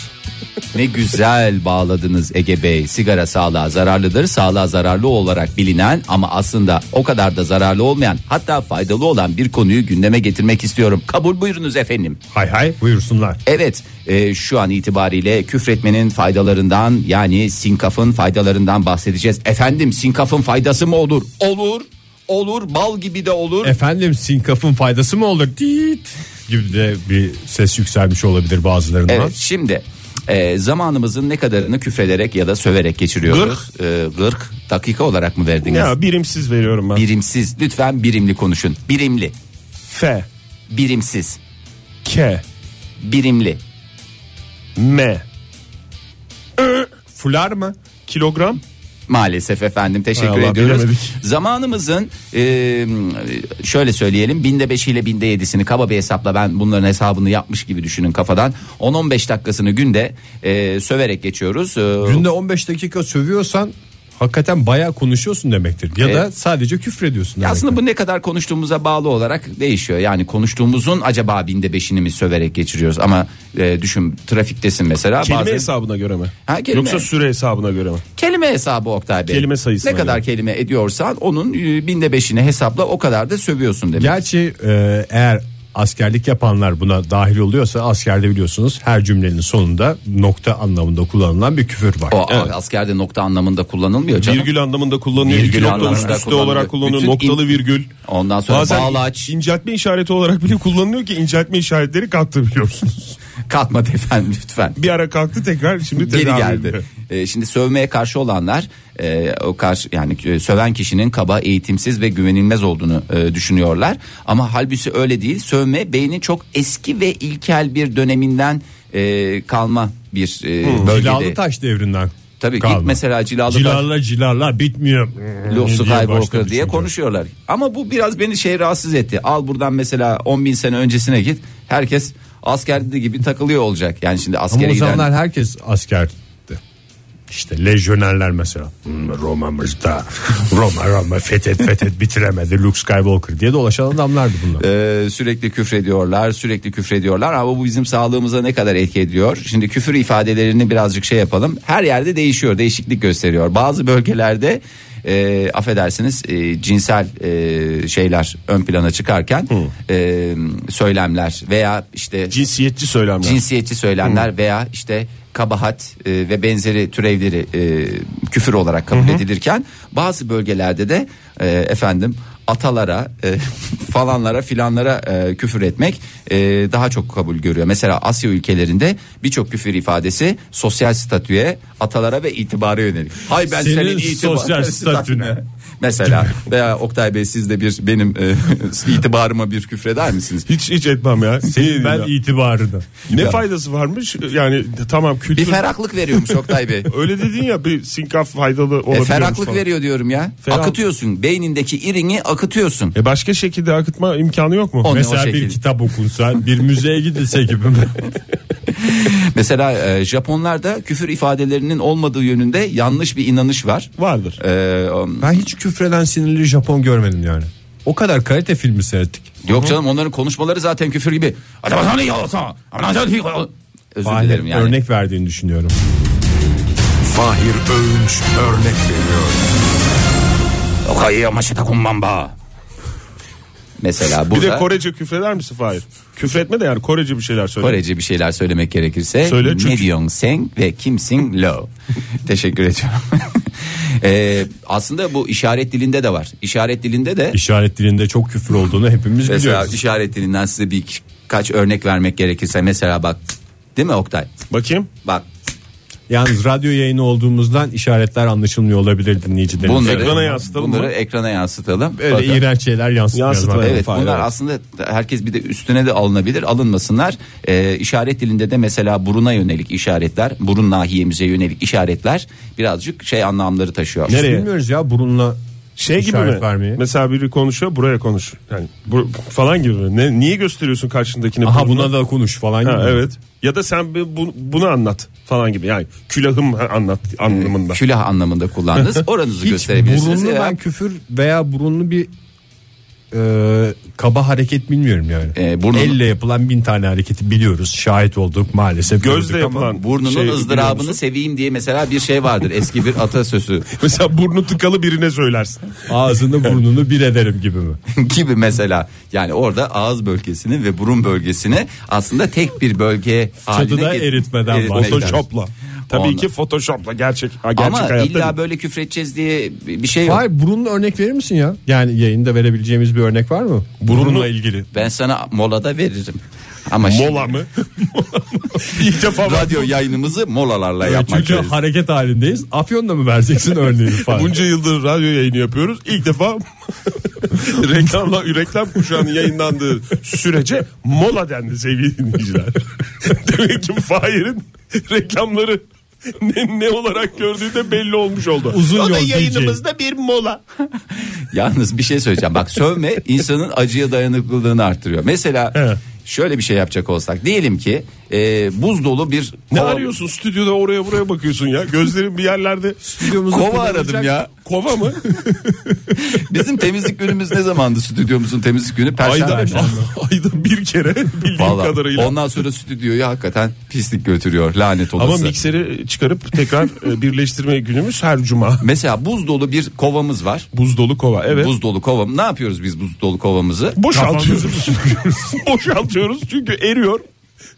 Speaker 2: Ne güzel bağladınız Ege Bey. Sigara sağlığa zararlıdır. Sağlığa zararlı olarak bilinen ama aslında o kadar da zararlı olmayan hatta faydalı olan bir konuyu gündeme getirmek istiyorum. Kabul buyurunuz efendim.
Speaker 3: Hay hay buyursunlar.
Speaker 2: Evet e, şu an itibariyle küfretmenin faydalarından yani sinkafın faydalarından bahsedeceğiz. Efendim sinkafın faydası mı olur? Olur. Olur bal gibi de olur.
Speaker 3: Efendim sinkafın faydası mı olur? Diit gibi de bir ses yükselmiş olabilir bazılarından.
Speaker 2: Evet şimdi e, zamanımızın ne kadarını küfrederek ya da söverek geçiriyoruz? 40. 40 dakika olarak mı verdiniz?
Speaker 4: Ya birimsiz veriyorum ben.
Speaker 2: Birimsiz lütfen birimli konuşun. Birimli,
Speaker 4: F,
Speaker 2: birimsiz,
Speaker 4: K,
Speaker 2: birimli.
Speaker 4: M.
Speaker 3: Fular mı?
Speaker 4: Kilogram
Speaker 2: Maalesef efendim
Speaker 4: Hay
Speaker 2: teşekkür
Speaker 4: Allah,
Speaker 2: ediyoruz.
Speaker 4: bilemedik.
Speaker 2: Zamanımızın e, şöyle söyleyelim binde beşiyle ile binde yedisini kaba bir hesapla ben bunların hesabını yapmış gibi düşünün kafadan. 10-15 dakikasını günde e, söverek geçiyoruz. E,
Speaker 3: Günde 15 dakika sövüyorsan hakikaten bayağı konuşuyorsun demektir. Ya da
Speaker 2: Evet.
Speaker 3: sadece küfrediyorsun demektir.
Speaker 2: Aslında bu ne kadar konuştuğumuza bağlı olarak değişiyor. Yani konuştuğumuzun acaba binde beşini mi söverek geçiriyoruz? Ama e, düşün trafiktesin mesela.
Speaker 4: kelime
Speaker 2: bazen-
Speaker 4: hesabına göre mi?
Speaker 2: Ha, kelime.
Speaker 4: Yoksa süre hesabına göre mi?
Speaker 2: Kelime hesabı Oktay Bey.
Speaker 4: Kelime sayısına
Speaker 2: Ne kadar
Speaker 4: göre.
Speaker 2: kelime ediyorsan onun e, binde beşini hesapla o kadar da sövüyorsun demek.
Speaker 3: Gerçi e, eğer askerlik yapanlar buna dahil oluyorsa askerde biliyorsunuz her cümlenin sonunda nokta anlamında kullanılan bir küfür var.
Speaker 2: o a- askerde nokta anlamında kullanılmıyor canım.
Speaker 4: Virgül anlamında kullanılıyor.
Speaker 2: Virgül
Speaker 4: İki nokta
Speaker 2: anlamında
Speaker 4: üst üste
Speaker 2: kullanılıyor.
Speaker 4: olarak kullanılıyor.
Speaker 2: Bütün
Speaker 4: Noktalı
Speaker 2: in-
Speaker 4: virgül.
Speaker 2: Ondan sonra
Speaker 4: Bazen
Speaker 2: bağlaç,
Speaker 4: inceltme işareti olarak bile kullanılıyor ki inceltme işaretleri kalktı biliyorsunuz.
Speaker 2: katma efendim lütfen.
Speaker 4: Bir ara kalktı tekrar şimdi
Speaker 2: Geri
Speaker 4: tekrar
Speaker 2: geldi. E, şimdi sövmeye karşı olanlar e, o karşı yani e, söven kişinin kaba, eğitimsiz ve güvenilmez olduğunu e, düşünüyorlar. Ama halbuki öyle değil. Sövme beynin çok eski ve ilkel bir döneminden e, kalma bir e,
Speaker 3: Cilalı
Speaker 2: bölgede.
Speaker 3: taş devrinden.
Speaker 2: Tabii
Speaker 3: kalma.
Speaker 2: git mesela cilalı taş-
Speaker 3: Cilarla cilarla bitmiyor.
Speaker 2: Luke
Speaker 3: diye başladı
Speaker 2: Skywalker diye
Speaker 3: çünkü.
Speaker 2: konuşuyorlar. Ama bu biraz beni şey rahatsız etti. Al buradan mesela 10 bin sene öncesine git. Herkes askerde gibi takılıyor olacak. Yani şimdi
Speaker 3: Ama
Speaker 2: askere
Speaker 3: o
Speaker 2: giden
Speaker 3: zamanlar herkes askerdi. İşte lejyonerler mesela. Hmm, Roma'mızda <laughs> Roma Roma fethet fethet bitiremedi Luke Skywalker diye dolaşan adamlardı bunlar.
Speaker 2: e, sürekli küfrediyorlar, sürekli küfrediyorlar. Ama bu bizim sağlığımıza ne kadar etki ediyor? Şimdi küfür ifadelerini birazcık şey yapalım. Her yerde değişiyor, değişiklik gösteriyor. Bazı bölgelerde e, affedersiniz e, cinsel e, şeyler ön plana çıkarken e, söylemler veya işte
Speaker 4: Cinsiyetçi söylemler.
Speaker 2: cinsiyetçi söylemler veya işte kabahat e, ve benzeri türevleri e, küfür olarak kabul edilirken bazı bölgelerde de e, efendim atalara e, <laughs> falanlara filanlara e, küfür etmek e, daha çok kabul görüyor. Mesela Asya ülkelerinde birçok küfür ifadesi sosyal statüye, atalara ve itibara yönelik. Hay ben
Speaker 3: Senin
Speaker 2: senin, itibar- <laughs>
Speaker 3: sosyal statüne.
Speaker 2: Mesela veya Oktay Bey siz de bir benim e, <laughs> itibarıma bir küfreder misiniz?
Speaker 4: Hiç hiç etmem ya.
Speaker 2: Ee,
Speaker 4: Senin
Speaker 3: ben
Speaker 4: ya.
Speaker 3: itibarını.
Speaker 4: ne faydası varmış? Yani tamam
Speaker 2: Bir
Speaker 4: kültür.
Speaker 2: ferahlık veriyormuş Oktay Bey.
Speaker 4: Öyle dedin ya bir sinkaf faydalı
Speaker 2: E,
Speaker 4: olabiliyormuş
Speaker 2: ferahlık
Speaker 4: falan.
Speaker 2: veriyor diyorum ya.
Speaker 4: Ferah-
Speaker 2: Akıtıyorsun. Beynindeki irini akıtıyorsun.
Speaker 4: E başka şekilde akıtma imkanı yok mu?
Speaker 2: Onu-
Speaker 4: Mes-
Speaker 3: Mesela
Speaker 2: şekilde.
Speaker 3: bir kitap okunsa bir müzeye gidilse gibi mi?
Speaker 2: Mesela e, Japonlarda küfür ifadelerinin olmadığı yönünde yanlış bir inanış var.
Speaker 4: vardır.
Speaker 2: E,
Speaker 3: Ben hiç küfreden sinirli Japon görmedim yani. O kadar kalite filmi seyrettik.
Speaker 2: yok canım onların konuşmaları zaten küfür gibi. Özür dilerim yani.
Speaker 3: Örnek verdiğini düşünüyorum.
Speaker 5: Fahir Öğünç örnek veriyor.
Speaker 2: Mesela
Speaker 4: Bir
Speaker 2: burada
Speaker 4: de Korece küfreder misin Fahir? Küfretme de yani Korece bir şeyler söyle.
Speaker 2: Korece bir şeyler söylemek gerekirse
Speaker 4: Söyle çünkü-
Speaker 2: ne diyorsun sen ve kimsin
Speaker 4: <laughs>
Speaker 2: lo. Teşekkür ediyorum. <laughs> E, aslında bu işaret dilinde de var. İşaret dilinde de
Speaker 3: İşaret dilinde çok küfür olduğunu hepimiz
Speaker 2: Mesela
Speaker 3: biliyoruz.
Speaker 2: işaret dilinden size bir kaç örnek vermek gerekirse mesela bak değil mi Oktay?
Speaker 4: Bakayım.
Speaker 2: Bak
Speaker 3: Yalnız radyo yayını olduğumuzdan işaretler anlaşılmıyor olabilir dinleyicilerimiz.
Speaker 2: bunları
Speaker 4: Ekrana yansıtalım
Speaker 2: Bunları
Speaker 4: mı?
Speaker 2: ekrana yansıtalım.
Speaker 3: Öyle
Speaker 2: Bakın.
Speaker 3: iğrenç şeyler
Speaker 4: Yansıtmayalım.
Speaker 3: yansıtmayalım.
Speaker 2: Evet
Speaker 4: Fahir,
Speaker 2: bunlar
Speaker 4: evet.
Speaker 2: aslında herkes bir de üstüne de alınabilir alınmasınlar. Ee, işaret dilinde de mesela buruna yönelik işaretler burun nahiyemize yönelik işaretler birazcık şey anlamları taşıyor.
Speaker 3: Biz bilmiyoruz ya burunla
Speaker 4: Şey gibi
Speaker 3: işaret
Speaker 4: mi?
Speaker 3: vermeyi.
Speaker 4: Mesela biri konuşuyor buraya konuş. Yani bu- falan gibi. mi? Ne, niye gösteriyorsun karşındakini?
Speaker 3: Aha
Speaker 4: Burnuna-
Speaker 3: buna da konuş falan gibi.
Speaker 4: Ha, evet. Ya da sen bir bu- bunu anlat falan gibi. Yani külahım anlat anlamında.
Speaker 2: Külah anlamında
Speaker 4: <laughs>
Speaker 2: kullandınız. Oranızı
Speaker 3: Hiç
Speaker 2: gösterebilirsiniz.
Speaker 3: burunlu
Speaker 2: Veya-
Speaker 3: ben küfür veya burunlu bir e, kaba hareket bilmiyorum yani.
Speaker 2: E, burnunu-
Speaker 3: Elle yapılan bin tane hareketi biliyoruz. Şahit olduk maalesef.
Speaker 4: Gözle
Speaker 3: gördük ama-
Speaker 4: yapılan
Speaker 2: Burnunun
Speaker 4: şey, biliyor
Speaker 2: ızdırabını
Speaker 4: musun?
Speaker 2: seveyim diye mesela bir şey vardır eski bir atasözü
Speaker 4: <laughs> Mesela burnu tıkalı birine söylersin. <laughs>
Speaker 3: Ağzını burnunu bir ederim gibi mi?
Speaker 2: <laughs> gibi mesela yani orada ağız bölgesini ve burun bölgesini aslında tek bir bölge haline
Speaker 3: Çatıda
Speaker 2: get-
Speaker 3: eritmeden
Speaker 2: eritmekten.
Speaker 4: Photoshop'la. Tabii
Speaker 2: Ondan.
Speaker 4: ki Photoshop'la gerçek ha, gerçek
Speaker 2: Ama
Speaker 4: hayatta.
Speaker 2: illa böyle küfredeceğiz diye bir şey yok.
Speaker 3: Hayır burunla örnek verir misin ya? Yani yayında verebileceğimiz bir örnek var mı? Burunla ilgili.
Speaker 2: Ben sana molada veririm. Ama şimdi <laughs>
Speaker 4: Mola mı? <laughs> İlk defa ben
Speaker 2: radyo yayınımızı molalarla yapmak
Speaker 3: Çünkü
Speaker 2: gerekiyor.
Speaker 3: hareket halindeyiz. Afyon'da mı
Speaker 2: <laughs>
Speaker 3: vereceksin örneği falan?
Speaker 4: bunca yıldır radyo yayını yapıyoruz. İlk defa <laughs> reklamla reklam kuşağının yayınlandığı sürece mola dendi sevgili dinleyiciler. <laughs> Demek ki Fahir'in reklamları ne, ne olarak gördüğü de belli olmuş oldu.
Speaker 3: Uzun
Speaker 4: o da
Speaker 3: yol
Speaker 4: yayınımızda bir mola.
Speaker 2: <laughs> Yalnız bir şey söyleyeceğim. Bak sövme insanın acıya dayanıklılığını arttırıyor. Mesela
Speaker 3: Evet.
Speaker 2: şöyle bir şey yapacak olsak diyelim ki e, buz dolu bir
Speaker 4: Ne
Speaker 2: kova-
Speaker 4: arıyorsun stüdyoda oraya buraya bakıyorsun ya. Gözlerin bir yerlerde.
Speaker 3: Stüdyomuzu
Speaker 2: Kova
Speaker 3: kullanacak-
Speaker 2: aradım ya.
Speaker 4: Kova mı?
Speaker 2: Bizim temizlik günümüz ne zamandı stüdyomuzun temizlik günü?
Speaker 4: Ayda,
Speaker 2: Perşembe.
Speaker 4: <laughs> ayda bir kere bildiğim
Speaker 2: Vallahi.
Speaker 4: kadarıyla.
Speaker 2: Ondan sonra stüdyoyu hakikaten pislik götürüyor lanet olası.
Speaker 4: Ama mikseri çıkarıp tekrar e, birleştirme günümüz her cuma. <laughs>
Speaker 2: Mesela buz dolu bir kovamız var.
Speaker 4: Buz dolu kova evet.
Speaker 2: Buz dolu kovam. Ne yapıyoruz biz buz dolu kovamızı?
Speaker 4: Boşaltıyoruz. <laughs> Boşaltıyoruz çünkü eriyor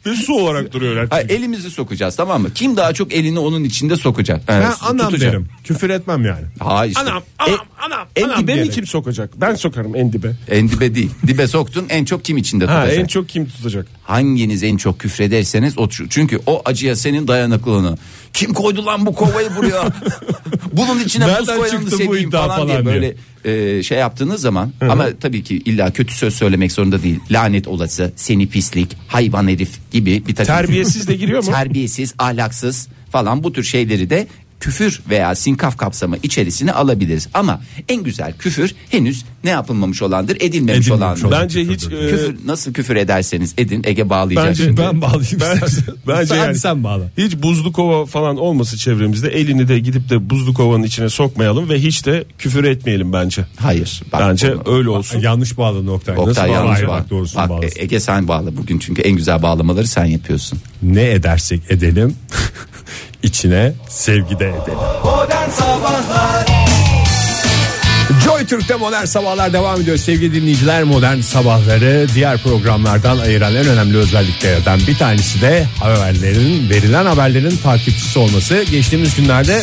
Speaker 4: ve su olarak duruyor her
Speaker 2: Ha,
Speaker 4: şey.
Speaker 2: elimizi sokacağız tamam mı? Kim daha çok elini onun içinde sokacak?
Speaker 3: Ben
Speaker 2: Evet,
Speaker 3: anam
Speaker 2: tutacak.
Speaker 3: derim. Küfür etmem yani.
Speaker 2: Ha işte.
Speaker 4: Anam şey. anam
Speaker 2: E-
Speaker 4: anam.
Speaker 2: en
Speaker 4: anam
Speaker 2: dibe
Speaker 4: dibe
Speaker 2: mi
Speaker 4: mi kim sokacak? Ben sokarım en dibe.
Speaker 2: en dibe değil. Dibe soktun en çok kim içinde
Speaker 4: Ha,
Speaker 2: tutacak?
Speaker 4: en çok kim tutacak?
Speaker 2: Hanginiz en çok küfrederseniz o çünkü o acıya senin dayanıklılığını. Kim koydu lan bu kovayı
Speaker 3: <laughs>
Speaker 2: buraya? Bunun içine buz
Speaker 3: Nereden
Speaker 2: koyanını
Speaker 3: çıktı bu
Speaker 2: seveyim
Speaker 3: iddia
Speaker 2: falan, diye
Speaker 3: falan diye.
Speaker 2: böyle e, şey yaptığınız zaman ama tabii ki illa kötü söz söylemek zorunda değil. Lanet olası, seni pislik, hayvan herif gibi bir takım
Speaker 4: Terbiyesiz de giriyor
Speaker 2: <laughs>
Speaker 4: mu?
Speaker 2: terbiyesiz, ahlaksız falan bu tür şeyleri de küfür veya sinkaf kapsamı içerisine alabiliriz. Ama en güzel küfür henüz ne yapılmamış olandır, edilmemiş,
Speaker 3: Edilmemiş
Speaker 2: olandır.
Speaker 3: olan.
Speaker 4: Bence hiç e,
Speaker 2: Küfür nasıl küfür ederseniz edin Ege bağlayacak
Speaker 4: Bence
Speaker 2: şimdi.
Speaker 3: Ben bağlayayım
Speaker 4: ben,
Speaker 3: istersen.
Speaker 4: bence
Speaker 3: Sen-
Speaker 4: yani,
Speaker 3: sen bağla.
Speaker 4: Hiç buzlu kova falan olması çevremizde elini de gidip de buzlu kovanın içine sokmayalım ve hiç de küfür etmeyelim bence.
Speaker 2: Hayır. bak
Speaker 4: Bence
Speaker 2: bunu-
Speaker 4: öyle olsun.
Speaker 3: Yanlış bağladın Oktay.
Speaker 2: Oktay
Speaker 3: Nasıl
Speaker 2: yanlış
Speaker 3: bağladın?
Speaker 2: bağ-
Speaker 3: Bak, doğrusunu
Speaker 2: Bak, e,
Speaker 3: bağladın.
Speaker 2: Ege sen bağla bugün çünkü en güzel bağlamaları sen yapıyorsun.
Speaker 3: ne edersek edelim <laughs> içine sevgi de edelim. Joy Türk'te modern sabahlar devam ediyor. Sevgili dinleyiciler modern sabahları diğer programlardan ayıran en önemli özelliklerden bir tanesi de haberlerin verilen haberlerin takipçisi olması. Geçtiğimiz günlerde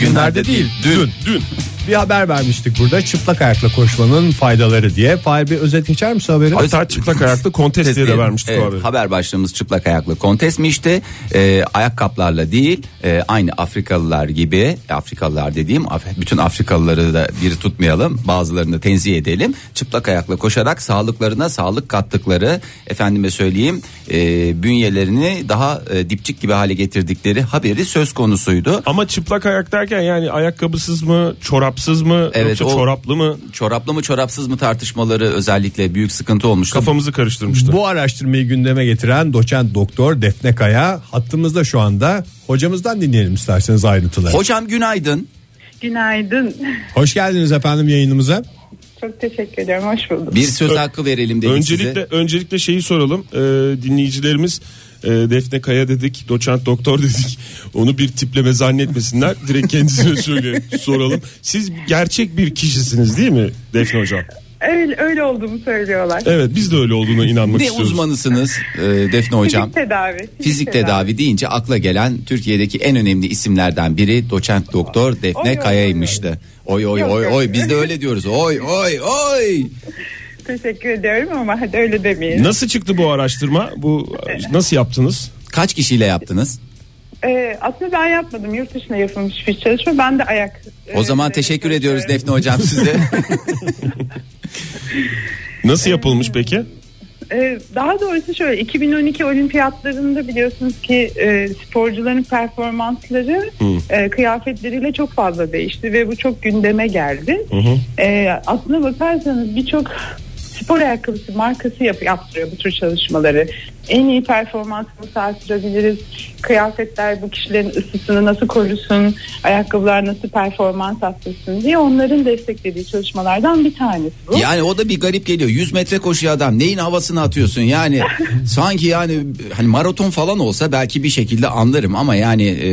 Speaker 2: günlerde değil, dün.
Speaker 4: Dün
Speaker 3: bir haber vermiştik burada çıplak ayakla koşmanın faydaları diye. Fahir bir özet geçer misin haberi?
Speaker 4: hatta çıplak ayaklı kontes diye de vermiştik
Speaker 2: Evet,
Speaker 4: o haberi.
Speaker 2: Haber başlığımız çıplak ayaklı kontes mi işte Ee, ayakkabılarla değil e, aynı Afrikalılar gibi Afrikalılar dediğim Af- bütün Afrikalıları da bir tutmayalım bazılarını tenzih edelim çıplak ayakla koşarak sağlıklarına sağlık kattıkları efendime söyleyeyim e, bünyelerini daha e, dipçik gibi hale getirdikleri haberi söz konusuydu.
Speaker 4: Ama çıplak ayak derken yani ayakkabısız mı, çorapsız mı,
Speaker 2: Evet,
Speaker 4: yoksa
Speaker 2: o-
Speaker 4: çoraplı mı?
Speaker 2: Çoraplı mı çorapsız mı tartışmaları özellikle büyük sıkıntı olmuştu.
Speaker 4: Kafamızı karıştırmıştı.
Speaker 3: Bu araştırmayı gündeme getiren doçent doktor Defne Kaya hattımızda şu anda. Hocamızdan dinleyelim isterseniz ayrıntıları. Hoş,
Speaker 2: Hocam günaydın.
Speaker 6: Günaydın.
Speaker 3: geldiniz efendim yayınımıza.
Speaker 6: Çok teşekkür ediyorum. Hoş bulduk.
Speaker 2: Bir söz hakkı verelim dedik
Speaker 4: öncelikle
Speaker 2: size.
Speaker 4: öncelikle şeyi soralım Ee, dinleyicilerimiz e, Defne Kaya dedik, doçent doktor <laughs> dedik. Onu bir tipleme zannetmesinler. Direkt kendisine söyle
Speaker 2: <laughs>
Speaker 4: soralım. Siz gerçek bir kişisiniz değil mi Defne hocam?
Speaker 6: Öyle, öyle olduğumu söylüyorlar.
Speaker 4: Evet biz de öyle olduğuna inanmak
Speaker 2: Ne
Speaker 4: istiyoruz.
Speaker 2: uzmanısınız e, Defne Hocam?
Speaker 6: Fizik tedavi.
Speaker 2: Fizik tedavi deyince akla gelen Türkiye'deki en önemli isimlerden biri doçent doktor
Speaker 6: Oy, oy,
Speaker 2: Defne
Speaker 6: oy,
Speaker 2: Kaya'ymıştı. Oy oy
Speaker 6: Yok,
Speaker 2: oy
Speaker 6: yok.
Speaker 2: oy biz de öyle diyoruz. Oy oy oy.
Speaker 6: Teşekkür ediyorum ama hadi öyle demeyelim.
Speaker 4: Nasıl çıktı bu araştırma? Bu nasıl yaptınız?
Speaker 2: Kaç kişiyle yaptınız?
Speaker 6: Ee, aslında ben yapmadım. Yurt dışında yapılmış bir çalışma. Ben de ayak. e,
Speaker 2: O zaman teşekkür ediyoruz Defne Hocam
Speaker 6: <laughs>
Speaker 2: size.
Speaker 4: Nasıl yapılmış peki?
Speaker 6: Ee, daha doğrusu şöyle 2012 olimpiyatlarında biliyorsunuz ki e, sporcuların performansları e, kıyafetleriyle çok fazla değişti ve bu çok gündeme geldi. Ee, aslına bakarsanız birçok spor ayakkabısı markası yap, yaptırıyor bu tür çalışmaları. En iyi performansını sağlayabiliriz. Kıyafetler bu kişilerin ısısını nasıl korusun, ayakkabılar nasıl performans atlasın diye onların desteklediği çalışmalardan bir tanesi bu.
Speaker 2: yani o da bir garip geliyor. 100 metre koşuyor adam. Neyin havasını atıyorsun? Yani sanki yani hani maraton falan olsa belki bir şekilde anlarım ama yani e,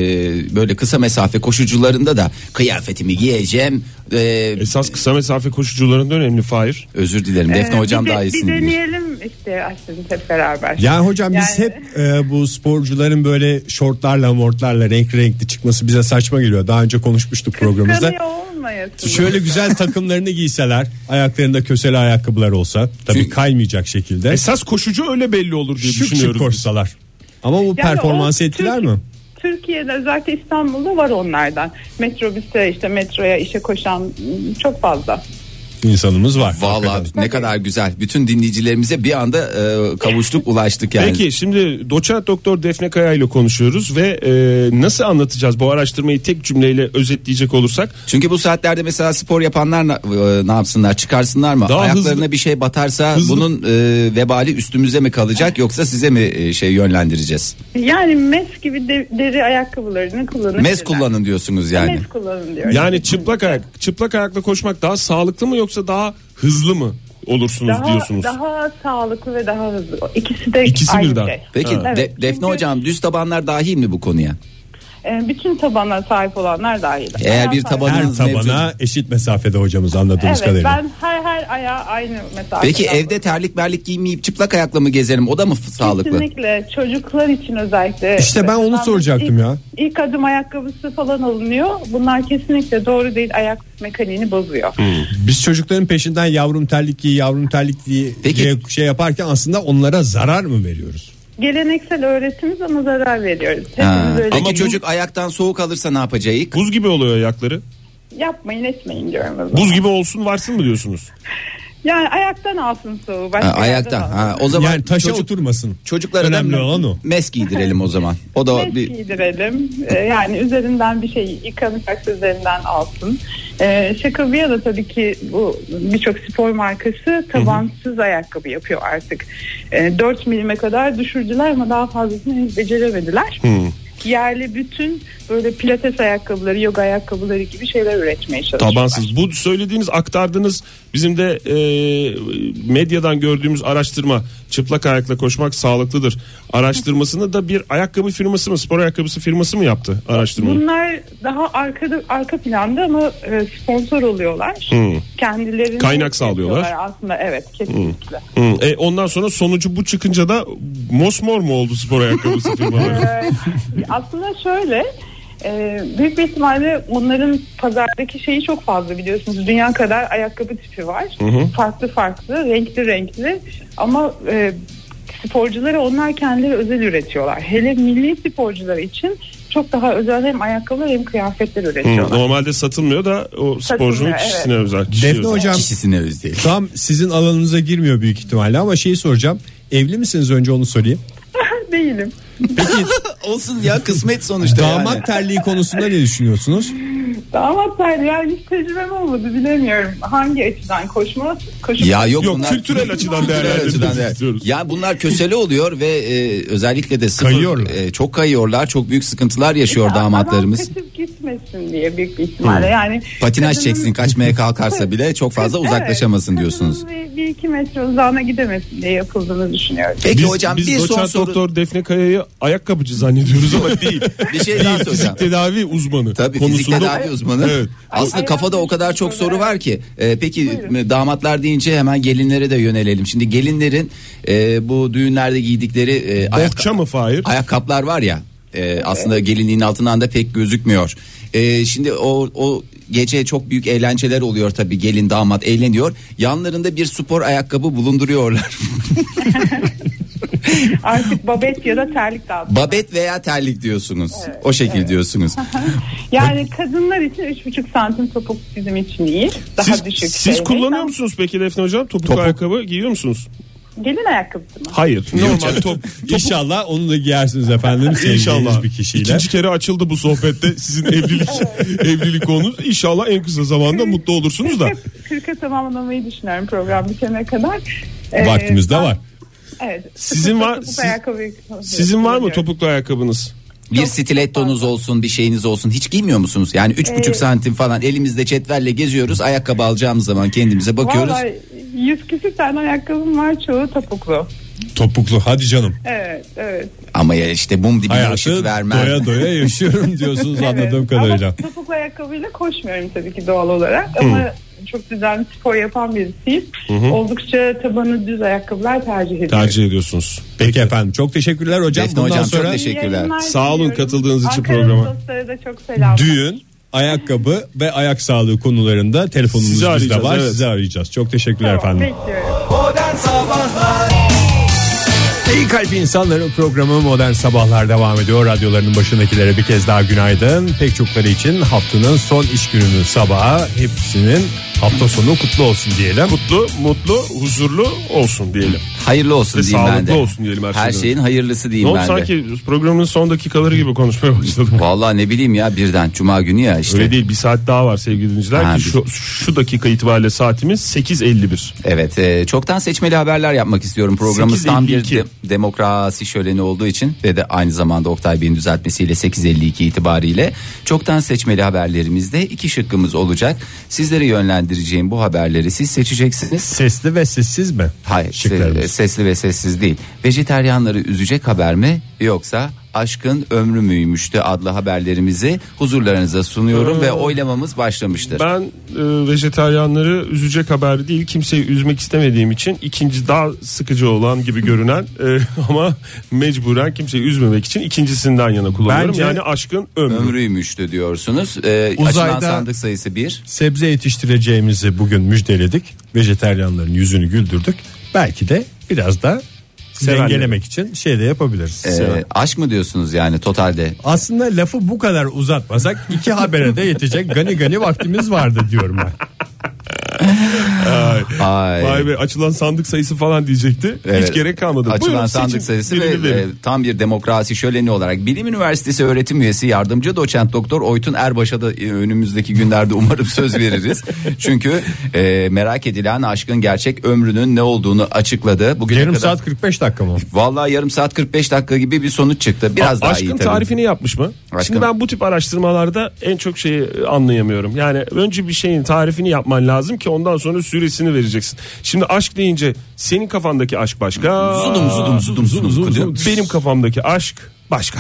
Speaker 2: böyle kısa mesafe koşucularında da kıyafetimi giyeceğim. E,
Speaker 4: Esas kısa mesafe koşucularında önemli Fahir.
Speaker 2: özür dilerim. Defne
Speaker 6: Ee,
Speaker 2: Hocam
Speaker 6: bir de-
Speaker 2: daha iyisini
Speaker 6: Bir
Speaker 2: bilir.
Speaker 6: deneyelim işte aslında hep beraber.
Speaker 3: Yani hocam biz
Speaker 6: Yani-
Speaker 3: hep e, bu sporcuların böyle şortlarla mortlarla renk renkli çıkması bize saçma geliyor. Daha önce konuşmuştuk programımızda.
Speaker 6: Kıskanıyor olmayasın.
Speaker 3: Şöyle güzel takımlarını giyseler ayaklarında köseli ayakkabılar olsa tabii
Speaker 2: Çünkü-
Speaker 3: kaymayacak şekilde
Speaker 4: Esas koşucu öyle belli olur diye
Speaker 3: şık şık
Speaker 4: düşünüyoruz.
Speaker 3: koşsalar. Ama bu
Speaker 6: Yani
Speaker 3: performansı
Speaker 6: o
Speaker 3: etkiler
Speaker 6: Türk-
Speaker 3: mi?
Speaker 6: Türkiye'de özellikle İstanbul'da var onlardan. Metrobüste işte metroya işe koşan ım, çok fazla.
Speaker 3: İnsanımız var.
Speaker 2: Vallahi
Speaker 3: Hakikaten.
Speaker 2: ne kadar güzel. Bütün dinleyicilerimize bir anda e, kavuştuk, ulaştık yani.
Speaker 4: Peki şimdi doçent doktor Defne Kaya ile konuşuyoruz ve e, nasıl anlatacağız bu araştırmayı tek cümleyle özetleyecek olursak
Speaker 2: Çünkü bu saatlerde mesela spor yapanlar na- e, ne yapsınlar? Çıkarsınlar mı?
Speaker 4: Daha
Speaker 2: Ayaklarına
Speaker 4: hızlı-
Speaker 2: bir şey batarsa
Speaker 4: hızlı-
Speaker 2: bunun e, vebali üstümüze mi kalacak yoksa size mi e, şey yönlendireceğiz?
Speaker 6: Yani mes gibi de- deri ayakkabılarını kullanabilirler.
Speaker 2: Mes kullanın diyorsunuz yani.
Speaker 6: Mes kullanın diyorum.
Speaker 4: yani çıplak ayak çıplak ayakla koşmak daha sağlıklı mı yoksa daha hızlı mı olursunuz
Speaker 6: daha,
Speaker 4: diyorsunuz.
Speaker 6: daha sağlıklı ve daha hızlı. İkisi de
Speaker 4: İkisi
Speaker 6: aynı
Speaker 4: birden.
Speaker 6: şey.
Speaker 2: Peki
Speaker 6: Evet,
Speaker 2: De- Defne
Speaker 6: çünkü,
Speaker 2: hocam düz tabanlar dahil mi bu konuya?
Speaker 6: e, bütün tabana sahip olanlar dahil.
Speaker 2: Eğer bir
Speaker 6: Ayağa sahip-
Speaker 2: tabanı-
Speaker 3: Her tabana eşit mesafede hocamız
Speaker 6: Evet
Speaker 3: anladığımız kadarıyla.
Speaker 6: ben her her ayağa aynı mesafeden
Speaker 2: Peki
Speaker 6: bakıyorum.
Speaker 2: evde terlik berlik giymeyip çıplak ayakla mı gezelim? O da mı f- sağlıklı?
Speaker 6: Kesinlikle çocuklar için özellikle.
Speaker 3: İşte ben onu soracaktım
Speaker 6: ilk,
Speaker 3: ya.
Speaker 6: İlk adım ayakkabısı falan alınıyor. Bunlar kesinlikle doğru değil. Ayak mekaniğini bozuyor.
Speaker 3: Biz çocukların peşinden yavrum terlik giy yavrum terlik giy
Speaker 2: Peki.
Speaker 3: diye şey yaparken aslında onlara zarar mı veriyoruz?
Speaker 6: Geleneksel öğretimiz ama zarar veriyoruz.
Speaker 2: Ha.
Speaker 6: Hepimiz öyle
Speaker 2: Peki
Speaker 4: Ama bu-
Speaker 2: çocuk ayaktan soğuk alırsa ne yapacağız?
Speaker 4: Buz gibi oluyor ayakları.
Speaker 6: yapmayın etmeyin diyorum. o zaman.
Speaker 4: Buz gibi olsun varsın mı diyorsunuz?
Speaker 6: Yani ayaktan alsın soğuğu.
Speaker 2: Ha,
Speaker 6: Başka
Speaker 2: ayaktan.
Speaker 6: yerden
Speaker 2: Ha, o zaman
Speaker 3: yani taşa
Speaker 2: çocuk-
Speaker 3: oturmasın.
Speaker 2: Çocuklara
Speaker 3: Önemli
Speaker 2: da
Speaker 3: olan o.
Speaker 2: mes giydirelim o zaman. O da
Speaker 6: Bez
Speaker 2: bir
Speaker 6: giydirelim. Ee, yani üzerinden bir şey yıkanacaksa üzerinden alsın. Ee, şaka bir yana tabii ki bu birçok spor markası tabansız ayakkabı yapıyor artık. Ee, 4 milime kadar düşürdüler ama daha fazlasını henüz beceremediler. yerli bütün böyle pilates ayakkabıları, yoga ayakkabıları gibi şeyler üretmeye çalışıyorlar.
Speaker 4: Tabansız. Bu söylediğiniz aktardığınız bizim de e, medyadan gördüğümüz araştırma çıplak ayakla koşmak sağlıklıdır araştırmasını da bir ayakkabı firması mı spor ayakkabısı firması mı yaptı araştırmayı?
Speaker 6: Bunlar daha arkada arka planda ama e, sponsor oluyorlar. Kendilerini
Speaker 4: Kaynak sağlıyorlar.
Speaker 6: yapıyorlar Aslında evet kesinlikle.
Speaker 4: Hı. E, ondan sonra sonucu bu çıkınca da mosmor mu oldu spor ayakkabısı <laughs> firmaları?
Speaker 6: Ee, <laughs> aslında şöyle e, büyük bir ihtimalle onların pazardaki şeyi çok fazla biliyorsunuz. Dünya kadar ayakkabı tipi var. Farklı farklı, renkli renkli. Ama e, sporcuları onlar kendileri özel üretiyorlar. Hele milli sporcular için çok daha özel hem ayakkabılar hem kıyafetler
Speaker 4: Hı,
Speaker 6: üretiyorlar.
Speaker 4: Normalde satılmıyor da o sporcunun
Speaker 6: Satılmıyor,
Speaker 4: kişisine özel. kişiye
Speaker 3: Defne
Speaker 4: özel.
Speaker 3: hocam
Speaker 2: Kişisine öz değil.
Speaker 3: tam sizin alanınıza girmiyor büyük ihtimalle ama şeyi soracağım. Evli misiniz önce onu sorayım.
Speaker 6: Değilim.
Speaker 3: Peki
Speaker 2: <laughs> Olsun ya kısmet sonuçta yani.
Speaker 3: damat terliği konusunda ne düşünüyorsunuz?
Speaker 6: Damat terliği yani hiç tecrübem olmadı bilemiyorum. Hangi açıdan koşma? koşma.
Speaker 2: Ya yok,
Speaker 4: Yok,
Speaker 2: bunlar
Speaker 4: kültürel açıdan
Speaker 2: Kültürel
Speaker 4: değerlendirmek
Speaker 2: açıdan değer-
Speaker 4: istiyoruz.
Speaker 2: Ya bunlar kösele oluyor ve e, özellikle de sıfır,
Speaker 3: Kayıyorlar.
Speaker 2: e, çok kayıyorlar. Çok büyük sıkıntılar yaşıyor
Speaker 6: Adam
Speaker 2: damatlarımız.
Speaker 6: kaçıp gitmesin diye büyük bir ihtimalle. Yani
Speaker 2: Patinaj
Speaker 6: kadının-
Speaker 2: çeksin kaçmaya kalkarsa bile çok fazla
Speaker 6: Evet,
Speaker 2: uzaklaşamasın diyorsunuz.
Speaker 6: kadının Bir, bir iki metre uzağına gidemesin diye yapıldığını düşünüyorum.
Speaker 2: Peki
Speaker 4: Biz,
Speaker 2: hocam
Speaker 4: biz
Speaker 2: bir son
Speaker 4: doçent
Speaker 2: soru
Speaker 4: doktor Defne Kaya'yı
Speaker 2: <laughs>
Speaker 4: ayakkabıcı zannediyoruz ama değil.
Speaker 2: bir şey daha soracağım.
Speaker 4: Fizik tedavi uzmanı
Speaker 2: Tabii fizik
Speaker 4: konusunda
Speaker 2: tedavi uzmanı.
Speaker 4: Evet.
Speaker 2: Aslında
Speaker 6: Ay,
Speaker 2: kafada o kadar çok soru var ki. Ee, peki
Speaker 6: Buyurun.
Speaker 2: damatlar deyince hemen gelinlere de yönelelim. Şimdi gelinlerin e, bu düğünlerde giydikleri e,
Speaker 4: Bohça mı Fahir?
Speaker 2: ayakkabılar var ya. e, Aslında gelinliğin altından da pek gözükmüyor. E, şimdi o, o gece çok büyük eğlenceler oluyor tabii gelin damat eğleniyor. Yanlarında bir spor ayakkabı bulunduruyorlar. <laughs>
Speaker 6: Artık babet ya da terlik lazım.
Speaker 2: Babet veya terlik diyorsunuz. o şekil diyorsunuz.
Speaker 6: Yani kadınlar için 3,5 santim topuk bizim için iyi. Daha
Speaker 4: siz,
Speaker 6: düşük.
Speaker 4: siz
Speaker 6: şey.
Speaker 4: kullanıyor
Speaker 6: Ben-
Speaker 4: musunuz peki Defne Hocam? Topuk, ayakkabı giyiyor musunuz?
Speaker 6: Gelin ayakkabısı mı?
Speaker 4: Hayır. Normal top.
Speaker 3: İnşallah onu da giyersiniz efendim.
Speaker 4: İnşallah.
Speaker 3: İnşallah. bir kişiyle.
Speaker 4: İkinci kere açıldı bu sohbette
Speaker 2: <laughs>
Speaker 4: sizin evlilik <laughs> evlilik konunuz. İnşallah en kısa zamanda mutlu olursunuz da.
Speaker 6: 40'a tamamlamayı düşünüyorum program bitene kadar. Ee,
Speaker 3: Vaktimiz de
Speaker 6: ben-
Speaker 3: var.
Speaker 6: Evet.
Speaker 4: Sizin var-
Speaker 6: Topuk
Speaker 4: siz-
Speaker 6: ayakkabıyı
Speaker 4: Sizin var mı
Speaker 6: kullanıyorum.
Speaker 4: topuklu ayakkabınız?
Speaker 2: Bir stilettonuz olsun bir şeyiniz olsun hiç giymiyor musunuz? Yani üç buçuk santim falan elimizde cetvelle geziyoruz ayakkabı alacağımız zaman kendimize bakıyoruz.
Speaker 6: Vallahi yüz küsür tane ayakkabım var çoğu topuklu.
Speaker 3: Topuklu hadi canım.
Speaker 6: Evet evet.
Speaker 2: Ama ya işte mum dibine ışık
Speaker 3: Hayatı
Speaker 2: vermez.
Speaker 3: doya doya yaşıyorum diyorsunuz anladığım
Speaker 6: evet.
Speaker 3: kadarıyla.
Speaker 6: Ama topuklu ayakkabıyla koşmuyorum tabii ki doğal olarak ama çok düzenli spor yapan birisiyim. Oldukça tabanı düz ayakkabılar tercih ediyorum.
Speaker 4: Tercih ediyorsunuz.
Speaker 3: Peki efendim çok teşekkürler hocam.
Speaker 2: Defne
Speaker 3: Bundan
Speaker 2: hocam, çok
Speaker 3: sonra
Speaker 2: teşekkür-
Speaker 6: İyi
Speaker 2: Teşekkürler.
Speaker 6: yayınlar
Speaker 4: Sağ olun
Speaker 6: diliyorum.
Speaker 4: katıldığınız için
Speaker 6: Ankara
Speaker 4: programa.
Speaker 6: dostlara da çok selam.
Speaker 3: düğün, ayakkabı ve ayak sağlığı konularında telefonumuz
Speaker 4: Sizi
Speaker 3: bizde
Speaker 4: arayacağız,
Speaker 3: var.
Speaker 4: evet.
Speaker 3: Sizi arayacağız. Çok teşekkürler
Speaker 6: Tamam,
Speaker 3: efendim.
Speaker 6: bekliyorum.
Speaker 3: İyi kalp insanların programı Modern Sabahlar devam ediyor. Radyolarının başındakilere bir kez daha günaydın. Pek çokları için haftanın son iş gününün sabahı. Hepsinin hafta sonu kutlu olsun diyelim.
Speaker 4: Mutlu, mutlu, huzurlu olsun diyelim.
Speaker 2: Hayırlı olsun
Speaker 4: Ve
Speaker 2: diyeyim ben de.
Speaker 4: sağlıklı olsun diyelim her
Speaker 2: Her
Speaker 4: şeyden.
Speaker 2: şeyin hayırlısı
Speaker 4: Ne
Speaker 2: diyeyim
Speaker 4: oldu
Speaker 2: ben de.
Speaker 4: sanki programın son dakikaları gibi konuşmaya başladım.
Speaker 2: Vallahi ne bileyim ya birden cuma günü ya işte.
Speaker 4: Öyle değil bir saat daha var sevgili
Speaker 2: Ha,
Speaker 4: dinleyiciler ki
Speaker 2: biz-
Speaker 4: şu, şu dakika itibariyle saatimiz 8.51.
Speaker 2: Evet e, çoktan seçmeli haberler yapmak istiyorum. Programımız tam bir
Speaker 4: 8.52.
Speaker 2: de- demokrasi şöleni olduğu için ve de aynı zamanda Oktay Bey'in düzeltmesiyle 8.52 itibariyle çoktan seçmeli haberlerimizde iki şıkkımız olacak. Sizlere yönlendireceğim bu haberleri siz seçeceksiniz.
Speaker 3: Sesli ve sessiz mi?
Speaker 2: Hayır
Speaker 3: Şıklarımız.
Speaker 2: se- sesli ve sessiz değil. Vejeteryanları üzecek haber mi yoksa aşkın ömrü müymüştü adlı haberlerimizi huzurlarınıza sunuyorum ve oylamamız başlamıştır.
Speaker 4: Ben e, vejetaryanları üzecek haber değil kimseyi üzmek istemediğim için ikinci daha sıkıcı olan gibi görünen e, <laughs> ama mecburen kimseyi üzmemek için ikincisinden yana kullanıyorum.
Speaker 3: Bence-
Speaker 4: yani aşkın ömrü.
Speaker 2: Ömrüymüştü diyorsunuz. Ee, açılan
Speaker 3: Uzayda-
Speaker 2: sandık sayısı bir.
Speaker 3: Sebze yetiştireceğimizi bugün müjdeledik. Vejeteryanların yüzünü güldürdük. Belki de biraz da
Speaker 4: Sevenleri.
Speaker 3: dengelemek için şey de yapabiliriz.
Speaker 2: Ee, aşk mı diyorsunuz yani totalde?
Speaker 3: Aslında lafı bu kadar uzatmasak iki habere de yetecek gani gani vaktimiz vardı diyorum ben.
Speaker 2: Ay.
Speaker 4: Vay be açılan sandık sayısı falan diyecekti.
Speaker 2: Evet.
Speaker 4: Hiç gerek kalmadı.
Speaker 2: Açılan
Speaker 4: Buyurun,
Speaker 2: sandık
Speaker 4: seçin,
Speaker 2: sayısı
Speaker 4: birini
Speaker 2: ve e,
Speaker 4: verin.
Speaker 2: tam bir demokrasi şöleni olarak Bilim Üniversitesi öğretim üyesi yardımcı doçent doktor Oytun Erbaş'a da e, önümüzdeki günlerde umarım söz
Speaker 4: <laughs>
Speaker 2: veririz. Çünkü e, merak edilen aşkın gerçek ömrünün ne olduğunu açıkladı. Bugüne
Speaker 3: Yarım
Speaker 2: kadar,
Speaker 3: saat 45 dakika mı?
Speaker 2: Vallahi yarım saat 45 dakika gibi bir sonuç çıktı. Biraz daha iyi
Speaker 4: Aşkın
Speaker 2: tabii.
Speaker 4: tarifini yapmış mı?
Speaker 2: Aşkın-
Speaker 4: Şimdi ben bu tip araştırmalarda en çok şeyi e, anlayamıyorum. Yani önce bir şeyin tarifini yapman lazım ki ondan sonra süresini vereceksin. Şimdi aşk deyince senin kafandaki aşk başka.
Speaker 2: Zudum, zudum, zudum, zudum, zudum.
Speaker 4: Benim kafamdaki aşk başka.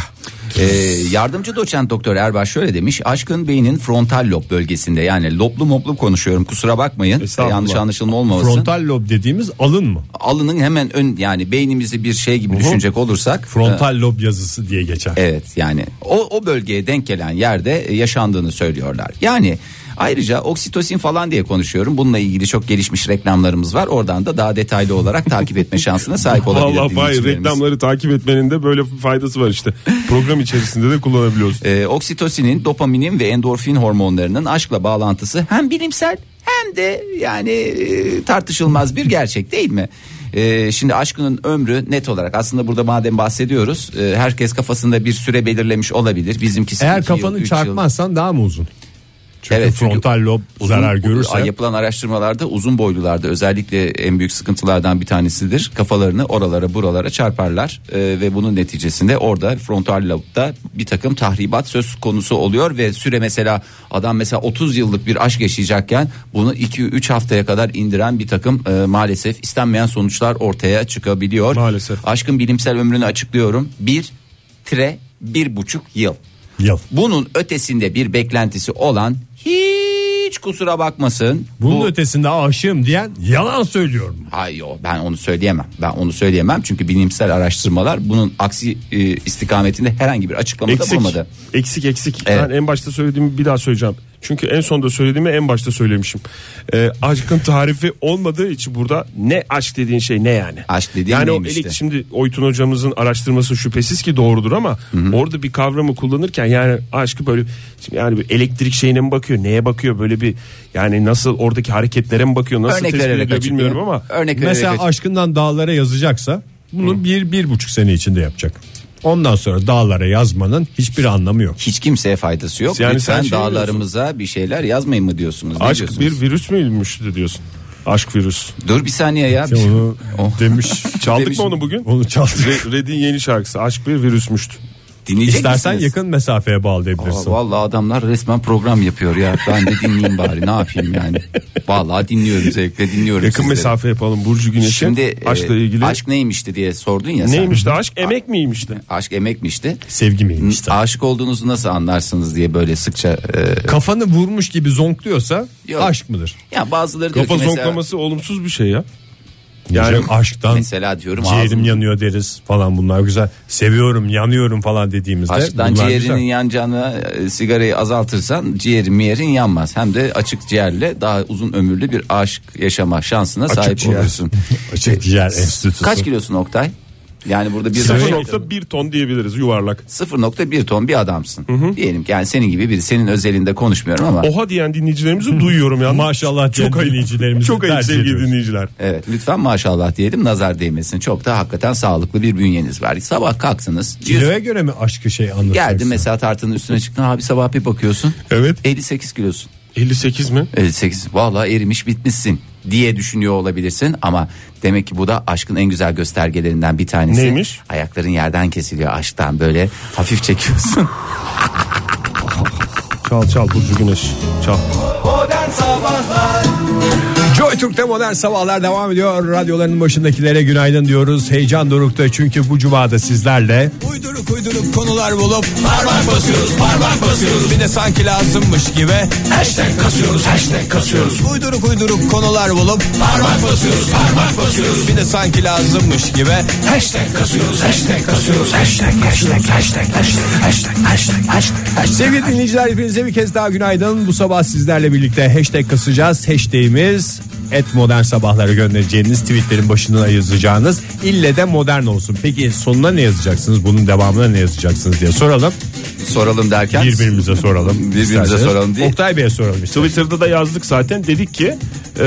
Speaker 2: Ee, yardımcı doçent doktor Erbaş şöyle demiş. Aşkın beynin frontal lob bölgesinde yani loblu moblu konuşuyorum kusura bakmayın. E,
Speaker 4: Estağfurullah.
Speaker 2: Yanlış anlaşılma olmaması.
Speaker 3: Frontal lob dediğimiz alın mı?
Speaker 2: Alının hemen ön yani beynimizi bir şey gibi düşünecek olursak.
Speaker 3: Frontal lob yazısı diye geçer.
Speaker 2: Evet yani o, o bölgeye denk gelen yerde e, yaşandığını söylüyorlar. Yani ayrıca oksitosin falan diye konuşuyorum. Bununla ilgili çok gelişmiş reklamlarımız var. Oradan da daha detaylı olarak takip
Speaker 4: <laughs>
Speaker 2: etme şansına sahip olabilir.
Speaker 4: Vallahi vay
Speaker 2: dinleyicilerimiz.
Speaker 4: reklamları takip etmenin de böyle faydası var işte. Program içerisinde de kullanabiliyorsun.
Speaker 2: Ee, oksitosinin, dopaminin ve endorfin hormonlarının aşkla bağlantısı hem bilimsel hem de yani e, tartışılmaz bir gerçek değil mi? Ee, şimdi aşkının ömrü net olarak aslında burada madem bahsediyoruz e, herkes kafasında bir süre belirlemiş olabilir. Bizimkisi
Speaker 3: Eğer
Speaker 2: iki yıl,
Speaker 3: kafanı
Speaker 2: üç yıl.
Speaker 3: çarpmazsan daha mı uzun? Çünkü
Speaker 2: Evet, çünkü
Speaker 3: frontal lob zarar görürse
Speaker 2: Yapılan araştırmalarda uzun boylularda özellikle en büyük sıkıntılardan bir tanesidir. Kafalarını oralara buralara çarparlar Ee, ve bunun neticesinde orada frontal lobda bir takım tahribat söz konusu oluyor ve süre mesela adam mesela 30 yıllık bir aşk yaşayacakken bunu 2-3 haftaya kadar indiren bir takım e, maalesef istenmeyen sonuçlar ortaya çıkabiliyor.
Speaker 4: Maalesef.
Speaker 2: Aşkın bilimsel ömrünü açıklıyorum. 1 tire bir buçuk yıl.
Speaker 3: yıl.
Speaker 2: Bunun ötesinde bir beklentisi olan hiç kusura bakmasın.
Speaker 3: Bunun
Speaker 2: Bu-
Speaker 3: ötesinde aşığım diyen yalan söylüyorum.
Speaker 2: Hayır yo, ben onu söyleyemem. Ben onu söyleyemem çünkü bilimsel araştırmalar bunun aksi e, istikametinde herhangi bir açıklamada
Speaker 4: Eksik.
Speaker 2: bulmadı.
Speaker 4: Eksik eksik.
Speaker 2: Evet.
Speaker 4: Ben en başta söylediğimi bir daha söyleyeceğim. Çünkü en sonda söylediğimi en başta söylemişim. Ee, aşkın tarifi olmadığı için burada ne aşk dediğin şey ne yani?
Speaker 2: Aşk dediğin
Speaker 4: yani o
Speaker 2: neymiş
Speaker 4: elek-
Speaker 2: de?
Speaker 4: şimdi Oytun hocamızın araştırması şüphesiz ki doğrudur ama orada bir kavramı kullanırken yani aşkı böyle şimdi yani bir elektrik şeyine mi bakıyor neye bakıyor böyle bir yani nasıl oradaki hareketlere mi bakıyor nasıl
Speaker 2: Örnek
Speaker 4: tespit
Speaker 2: vererek
Speaker 4: ediyor
Speaker 2: açıklayayım.
Speaker 4: bilmiyorum ama
Speaker 2: Örnek
Speaker 3: Mesela
Speaker 2: vererek açık-
Speaker 3: aşkından dağlara yazacaksa bunu bir, bir buçuk sene içinde yapacak. Ondan sonra dağlara yazmanın hiçbir anlamı yok.
Speaker 2: hiç kimseye faydası yok.
Speaker 4: Yani sen
Speaker 2: Lütfen
Speaker 4: şey
Speaker 2: dağlarımıza bir şeyler yazmayın mı diyorsunuz? Ne
Speaker 4: aşk
Speaker 2: diyorsunuz?
Speaker 4: bir virüs müymüş diyorsun. Aşk virüs.
Speaker 2: Dur bir saniye ya.
Speaker 4: Şey
Speaker 3: Sen onu
Speaker 2: <laughs> Oh.
Speaker 3: demiş.
Speaker 4: Çaldık
Speaker 2: Demiş-
Speaker 4: mı onu bugün?
Speaker 3: Onu çaldık.
Speaker 4: Re- Red'in yeni şarkısı Aşk bir virüsmüştü.
Speaker 2: Dinleyecek
Speaker 3: İstersen
Speaker 2: misiniz?
Speaker 3: yakın mesafeye bağlayabilirsin.
Speaker 2: Aa, vallahi adamlar resmen program yapıyor ya. Ben de dinleyeyim bari. Ne yapayım yani? Vallahi dinliyorum zevkle dinliyorum.
Speaker 4: Yakın
Speaker 2: sizleri.
Speaker 4: mesafe yapalım Burcu Güneş'e.
Speaker 2: Şimdi
Speaker 4: Şimdi
Speaker 2: e,
Speaker 4: aşkla ilgili
Speaker 2: aşk neymişti diye sordun ya sen.
Speaker 4: neymişti aşk? Emek miymişti?
Speaker 2: Aşk emekmişti.
Speaker 3: Sevgi miymiş? tabii.
Speaker 2: Aşık olduğunuzu nasıl anlarsınız diye böyle sıkça e,
Speaker 3: Kafanı vurmuş gibi zonkluyorsa
Speaker 2: Yok.
Speaker 3: aşk mıdır?
Speaker 2: ya bazıları diyor
Speaker 4: Kafa
Speaker 2: ki mesela,
Speaker 4: zonklaması olumsuz bir şey ya.
Speaker 3: Yani aşktan
Speaker 2: mesela diyorum
Speaker 3: ciğerim
Speaker 2: ağzım-
Speaker 3: yanıyor deriz falan bunlar güzel. Seviyorum yanıyorum falan dediğimizde
Speaker 2: Aşktan
Speaker 3: bunlar
Speaker 2: ciğerinin
Speaker 3: güzel.
Speaker 2: yanacağını e, sigarayı azaltırsan ciğerin miyerin yanmaz. Hem de açık ciğerle daha uzun ömürlü bir aşk yaşama şansına sahip
Speaker 3: ciğer.
Speaker 2: olursun.
Speaker 3: <laughs> Açık ciğer enstitüsü.
Speaker 2: Kaç kilosun Oktay? Yani burada bir
Speaker 4: 0.1 ton diyebiliriz yuvarlak.
Speaker 2: 0.1 ton bir adamsın. Diyelim ki yani senin gibi biri senin özelinde konuşmuyorum ama
Speaker 4: Oha diyen dinleyicilerimizi duyuyorum
Speaker 3: <laughs>
Speaker 4: ya.
Speaker 3: Maşallah
Speaker 4: çok
Speaker 3: diyen
Speaker 4: ayıp.
Speaker 3: dinleyicilerimizi
Speaker 4: Çok ayıp
Speaker 3: tercih
Speaker 4: sevgili
Speaker 3: ediyoruz.
Speaker 4: dinleyiciler.
Speaker 2: Evet lütfen maşallah diyelim nazar değmesin. Çok da hakikaten sağlıklı bir bünyeniz var. Sabah kalksınız. yüz-
Speaker 3: Kiloya göre mi aşkı şey anlatacaksın?
Speaker 2: Geldi mesela tartının üstüne çıktın abi sabah bir bakıyorsun.
Speaker 4: Evet.
Speaker 2: 58 kilosun.
Speaker 4: 58 mi?
Speaker 2: 58 valla erimiş bitmişsin diye düşünüyor olabilirsin ama demek ki bu da aşkın en güzel göstergelerinden bir tanesi.
Speaker 4: Neymiş?
Speaker 2: Ayakların yerden kesiliyor aşktan böyle hafif
Speaker 4: <laughs>
Speaker 2: çekiyorsun.
Speaker 4: Çal çal Burcu Güneş. Çal.
Speaker 3: Joy Türk'te modern sabahlar devam ediyor. Radyoların başındakilere günaydın diyoruz. Heyecan dorukta çünkü bu cumada sizlerle
Speaker 7: Uyduruk uyduruk konular bulup parmak basıyoruz parmak basıyoruz bir de sanki lazımmış gibi hashtag kasıyoruz hashtag kasıyoruz uyduruk uyduruk konular bulup parmak basıyoruz parmak basıyoruz bir de sanki lazımmış gibi hashtag kasıyoruz hashtag kasıyoruz hashtag hashtag hashtag hashtag hashtag hashtag hashtag
Speaker 3: Sevgili dinleyiciler hepinize bir kez daha günaydın. Bu sabah sizlerle birlikte hashtag kasacağız. Hashtag'imiz et modern sabahları göndereceğiniz tweetlerin başına yazacağınız ille de modern olsun. Peki sonuna ne yazacaksınız bunun devamına ne yazacaksınız diye soralım.
Speaker 2: soralım derken
Speaker 3: Birbirimize soralım.
Speaker 2: Birbirimize
Speaker 3: isterseniz.
Speaker 2: soralım değil.
Speaker 3: Oktay Bey'e soralım işte.
Speaker 4: Twitter'da da yazdık zaten dedik ki e,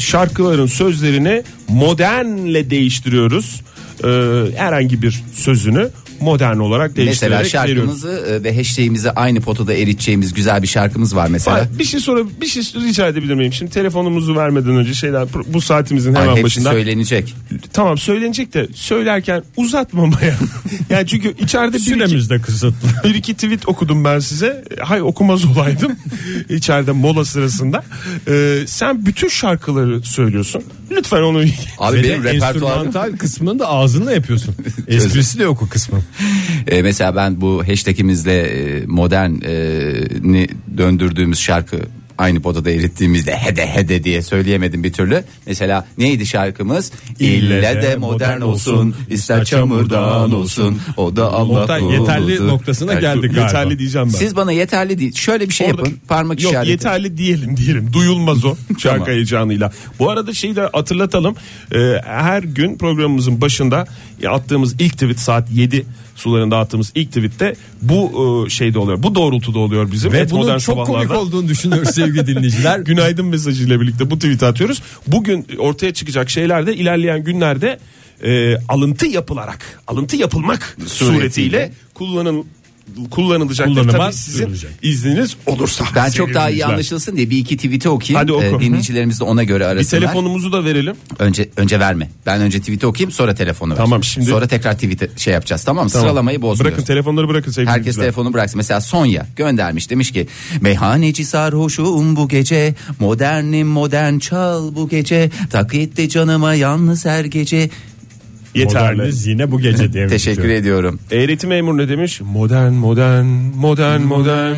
Speaker 4: şarkıların sözlerini modernle değiştiriyoruz. E, herhangi bir sözünü modern olarak değiştirerek
Speaker 2: Mesela
Speaker 4: veriyoruz.
Speaker 2: şarkımızı e, ve hashtag'imizi aynı potada eriteceğimiz güzel bir şarkımız var mesela.
Speaker 4: Hayır, bir şey sonra bir şey rica edebilir miyim? Şimdi telefonumuzu vermeden önce şeyler bu saatimizin
Speaker 2: Ay,
Speaker 4: hemen
Speaker 2: hepsi
Speaker 4: başında.
Speaker 2: söylenecek.
Speaker 4: Tamam söylenecek de söylerken uzatmamaya. <laughs> yani çünkü içeride bir iki,
Speaker 3: Süremiz de kısıtlı.
Speaker 4: bir iki tweet okudum ben size. Hay okumaz
Speaker 3: <laughs>
Speaker 4: olaydım içeride mola sırasında. Ee, sen bütün şarkıları söylüyorsun. Lütfen onu
Speaker 2: Abi
Speaker 3: Ve de
Speaker 2: benim repertuarım
Speaker 3: enstrümantal kısmını da ağzınla yapıyorsun. Esprisi de yok o kısmın.
Speaker 2: <laughs> E, mesela ben bu hashtag'imizle e, modern e, ni döndürdüğümüz şarkı aynı potada erittiğimizde hede hede diye söyleyemedim bir türlü. Mesela neydi şarkımız? İlle de modern olsun, ister çamurdan olsun, o da Allah
Speaker 3: Oktay, yeterli
Speaker 2: kuludur.
Speaker 3: noktasına geldik galiba.
Speaker 4: yeterli diyeceğim ben.
Speaker 2: Siz bana yeterli değil. Şöyle bir şey
Speaker 4: Orada-
Speaker 2: yapın. Parmak
Speaker 4: Yok
Speaker 2: işareti.
Speaker 4: yeterli diyelim diyelim. Duyulmaz
Speaker 3: <laughs>
Speaker 4: o şarkı heyecanıyla. Bu arada şeyi de hatırlatalım. Ee, her gün programımızın başında attığımız ilk tweet saat 7 sularında attığımız ilk tweette bu e, şeyde oluyor. Bu doğrultuda oluyor bizim.
Speaker 3: Ve
Speaker 4: Et
Speaker 3: bunun
Speaker 4: Modern
Speaker 3: çok komik
Speaker 4: Sabahlar'da.
Speaker 3: olduğunu düşünüyoruz sevgili
Speaker 4: <laughs>
Speaker 3: dinleyiciler.
Speaker 4: Günaydın mesajıyla birlikte bu tweet'i atıyoruz. Bugün ortaya çıkacak şeyler de ilerleyen günlerde e, alıntı yapılarak, alıntı yapılmak suretiyle,
Speaker 2: Suretiyle.
Speaker 4: kullanıl kullanılacaktır.
Speaker 3: Kullanıma
Speaker 4: Tabii sizin
Speaker 3: sunulacak.
Speaker 4: izniniz olursa.
Speaker 2: Ben
Speaker 4: sevgili
Speaker 2: çok daha iyi
Speaker 4: dinleyiciler.
Speaker 2: anlaşılsın diye bir iki tweet'i okuyayım.
Speaker 4: Hadi oku.
Speaker 2: E, dinleyicilerimiz de ona göre
Speaker 4: Bir
Speaker 2: arasınlar.
Speaker 4: telefonumuzu da verelim.
Speaker 2: Önce önce verme. Ben önce tweet'i okuyayım sonra telefonu ver.
Speaker 4: Tamam, şimdi-
Speaker 2: Sonra tekrar tweet'i şey yapacağız tamam mı?
Speaker 4: Tamam.
Speaker 2: Sıralamayı bozmuyoruz.
Speaker 4: Bırakın telefonları bırakın sevgili
Speaker 2: Herkes
Speaker 4: dinleyiciler.
Speaker 2: telefonu bıraksın. Mesela Sonya göndermiş demiş ki meyhaneci sarhoşum bu gece modernim modern çal bu gece tak etti canıma yalnız her gece.
Speaker 4: Yeterli.
Speaker 3: Moderniz yine bu gece diye.
Speaker 2: Teşekkür
Speaker 3: bitiyor.
Speaker 2: ediyorum.
Speaker 4: Eğitim memuru ne demiş? Modern modern modern modern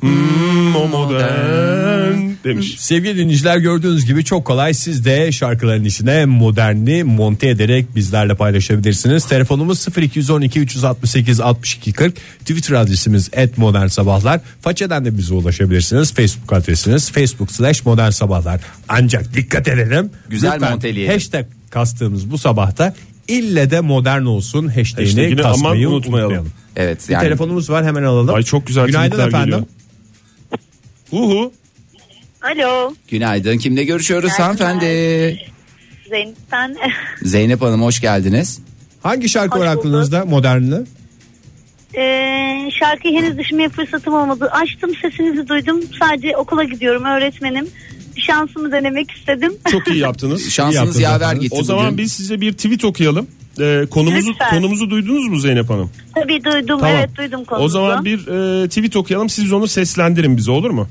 Speaker 4: hmm, o
Speaker 2: Hmm.
Speaker 4: modern demiş.
Speaker 3: Sevgili dinleyiciler gördüğünüz gibi çok kolay. Siz de şarkıların içine moderni monte ederek bizlerle paylaşabilirsiniz. Telefonumuz 0212 368 62 40. Twitter adresimiz @modernsabahlar. Façeden de bize ulaşabilirsiniz. Facebook adresiniz facebook slash modern sabahlar. Ancak dikkat edelim.
Speaker 2: Güzel
Speaker 3: Lütfen
Speaker 2: monteleyelim.
Speaker 3: Hashtag kastığımız bu sabahta ille de modern olsun hashtagini
Speaker 4: Hashtagini aman
Speaker 3: kasmayı
Speaker 4: unutmayalım.
Speaker 3: unutmayalım.
Speaker 2: Evet
Speaker 3: Bir
Speaker 2: yani
Speaker 3: telefonumuz var hemen alalım.
Speaker 4: Ay çok güzel
Speaker 3: Günaydın
Speaker 4: tweetler
Speaker 3: efendim.
Speaker 4: geliyor. Uhu.
Speaker 8: Alo
Speaker 2: günaydın. Kimle görüşüyoruz
Speaker 8: Günaydın.
Speaker 2: hanımefendi?
Speaker 8: Zeynep ben <laughs>
Speaker 2: Zeynep Hanım hoş geldiniz.
Speaker 3: Hangi şarkı
Speaker 8: Hoş
Speaker 3: var
Speaker 8: bulduk.
Speaker 3: aklınızda modernli?
Speaker 8: Ee, şarkıyı henüz düşünmeye fırsatım olmadı. Açtım sesinizi duydum. Sadece okula gidiyorum öğretmenim. Bir şansımı denemek istedim.
Speaker 4: Çok iyi yaptınız.
Speaker 2: Şansınız
Speaker 3: yaptınız
Speaker 2: yaver
Speaker 3: efendim.
Speaker 2: gitti
Speaker 4: o zaman
Speaker 2: bugün.
Speaker 4: biz size bir tweet okuyalım. Ee, konumuzu
Speaker 8: Lütfen.
Speaker 4: konumuzu duydunuz mu Zeynep Hanım?
Speaker 8: Tabii duydum evet duydum konuyu.
Speaker 4: O zaman bir e, tweet okuyalım. Siz onu seslendirin bize olur mu?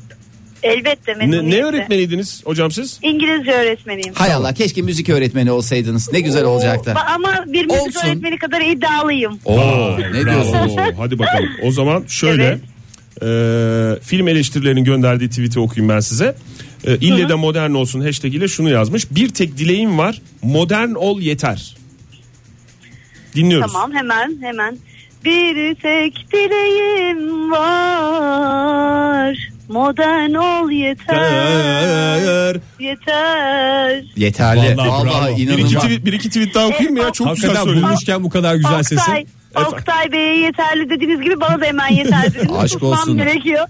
Speaker 8: Elbette
Speaker 4: Ne,
Speaker 8: memnuniyetle.
Speaker 4: ne öğretmeniydiniz hocam siz?
Speaker 8: İngilizce öğretmeniyim.
Speaker 2: Hay Allah keşke müzik öğretmeni olsaydınız. Ne güzel olacaktı.
Speaker 8: Ba- Ama bir müzik
Speaker 2: Olsun.
Speaker 8: öğretmeni kadar iddialıyım.
Speaker 2: Oo, ne diyorsunuz?
Speaker 4: Oo, hadi bakalım. O zaman şöyle e, film eleştirilerinin gönderdiği tweet'i okuyayım ben size. E, İlle de modern olsun hashtag ile şunu yazmış. Bir tek dileğim var modern ol yeter. Dinliyoruz.
Speaker 8: Tamam hemen hemen. Bir tek dileğim var. Modern ol yeter. Yeter.
Speaker 2: Yeterli.
Speaker 3: Vallahi
Speaker 2: Vallahi,
Speaker 3: bravo. Bir iki
Speaker 4: Bir iki,
Speaker 2: inanılmaz.
Speaker 4: tweet, bir iki tweet daha okuyayım mı ya? Çok güzel
Speaker 3: Hakikaten
Speaker 4: söylüyor.
Speaker 3: bulmuşken bu kadar güzel
Speaker 8: Oktay,
Speaker 3: sesi.
Speaker 8: Oktay Bey'e yeterli dediğiniz gibi bana da hemen yeterli
Speaker 3: <laughs>
Speaker 8: dediniz.
Speaker 2: Aşk
Speaker 8: Susmam
Speaker 2: olsun.
Speaker 8: gerekiyor.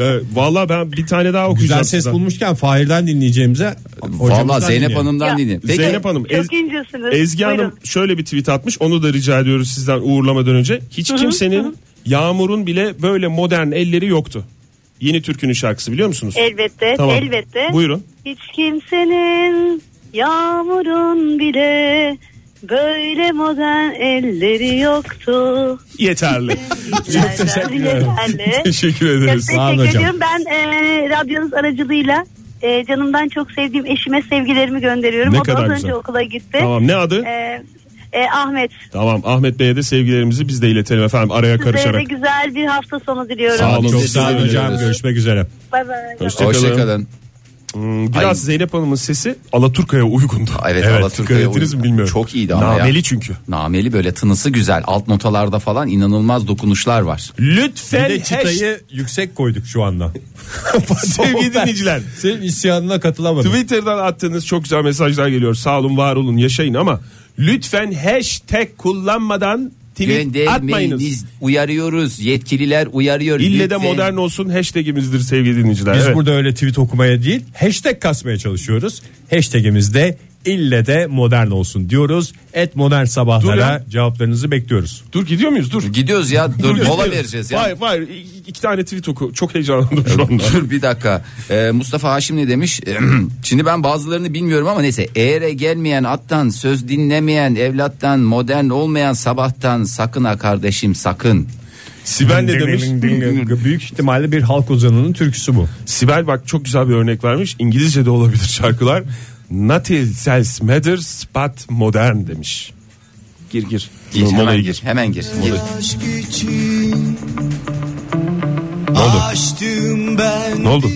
Speaker 4: E, Valla ben bir tane daha okuyacağım
Speaker 3: Güzel ses
Speaker 4: size.
Speaker 3: bulmuşken Fahir'den dinleyeceğimize
Speaker 2: Vallahi Zeynep
Speaker 3: Hanım
Speaker 2: Hanım'dan
Speaker 8: Ya.
Speaker 2: dinleyin. Peki,
Speaker 4: Zeynep Hanım Ez-
Speaker 8: Çok incesiniz.
Speaker 4: Ezgi Hanım
Speaker 8: Buyurun.
Speaker 4: şöyle bir tweet atmış. Onu da rica ediyoruz sizden uğurlamadan önce. Hiç kimsenin Yağmur'un bile böyle modern elleri yoktu. Yeni türkünün şarkısı biliyor musunuz?
Speaker 8: Elbette,
Speaker 4: Tamam.
Speaker 8: elbette.
Speaker 4: Buyurun.
Speaker 8: Hiç kimsenin yağmurun bile böyle modern elleri yoktu. <laughs>
Speaker 4: Yeterli.
Speaker 8: Çok teşekkür ederim.
Speaker 4: Teşekkür
Speaker 8: Çok
Speaker 4: ederiz.
Speaker 3: olun
Speaker 8: teşekkür
Speaker 3: hocam.
Speaker 8: ediyorum. Ben e, radyonuz aracılığıyla e, canımdan çok sevdiğim eşime sevgilerimi gönderiyorum. o
Speaker 4: Ne
Speaker 8: da
Speaker 4: kadar
Speaker 8: az
Speaker 4: güzel.
Speaker 8: önce okula gitti.
Speaker 4: Tamam ne adı?
Speaker 8: E, e, Ahmet
Speaker 4: Tamam Ahmet Bey'e de sevgilerimizi biz de iletelim efendim araya
Speaker 8: size de
Speaker 4: karışarak.
Speaker 8: güzel bir hafta sonu
Speaker 4: Sağ
Speaker 8: diliyorum.
Speaker 4: olun.
Speaker 3: Çok
Speaker 4: Siz
Speaker 3: sağ olun
Speaker 4: de
Speaker 3: hocam.
Speaker 4: öyle.
Speaker 3: Görüşmek üzere.
Speaker 8: Bay bay.
Speaker 4: Hoşça kalın.
Speaker 2: Hoşçakalın.
Speaker 4: Hmm, Biraz
Speaker 2: Ay.
Speaker 4: Zeynep Hanım'ın sesi Alaturka'ya uygundu.
Speaker 2: Evet, Alaturka'ya
Speaker 4: dikkat ettiniz mi
Speaker 2: uygun.
Speaker 4: bilmiyorum.
Speaker 2: Çok iyiydi ama ya.
Speaker 4: Nameli çünkü.
Speaker 2: Nameli böyle tınısı güzel. Alt notalarda falan inanılmaz dokunuşlar var.
Speaker 3: Bir
Speaker 4: Lütfen
Speaker 3: de çıtayı yüksek koyduk şu <laughs> anda.
Speaker 4: sevgili dinleyiciler.
Speaker 3: Senin isyanına katılamadım.
Speaker 4: Twitter'dan attığınız çok güzel mesajlar geliyor. Sağ olun, var olun, yaşayın ama lütfen hashtag kullanmadan tweet atmayınız.
Speaker 2: Göndermeyiniz uyarıyoruz yetkililer uyarıyor.
Speaker 4: İlle de
Speaker 2: Lütfen.
Speaker 4: modern olsun hashtagimizdir sevgili dinleyiciler.
Speaker 3: Biz
Speaker 4: Evet.
Speaker 3: burada öyle tweet okumaya değil hashtag kasmaya çalışıyoruz. Hashtagimizde ille de modern olsun diyoruz. Et modern sabahlara cevaplarınızı bekliyoruz.
Speaker 4: Dur gidiyor muyuz? Dur.
Speaker 2: Gidiyoruz
Speaker 4: <laughs>
Speaker 2: ya dur mola
Speaker 4: gidiyoruz.
Speaker 2: vereceğiz ya.
Speaker 4: Hayır hayır İ- iki tane tweet oku. Çok heyecanlandım
Speaker 2: <laughs>
Speaker 4: şu anda.
Speaker 2: Dur bir dakika. Ee, Mustafa Haşim ne demiş? <clears throat> Şimdi ben bazılarını bilmiyorum ama neyse. Eğere gelmeyen attan, söz dinlemeyen evlattan, modern olmayan sabahtan sakın ha kardeşim sakın.
Speaker 4: Sibel ne demiş?
Speaker 3: Büyük ihtimalle bir halk ozanının türküsü bu.
Speaker 4: Sibel bak çok güzel bir örnek vermiş. İngilizce de olabilir şarkılar. Nothing else matters but modern demiş. Gir gir.
Speaker 2: Gir,
Speaker 4: Molaya
Speaker 2: hemen gir. Hemen gir. gir.
Speaker 7: Aşk için Açtım ben
Speaker 4: Ne oldu?
Speaker 2: <laughs>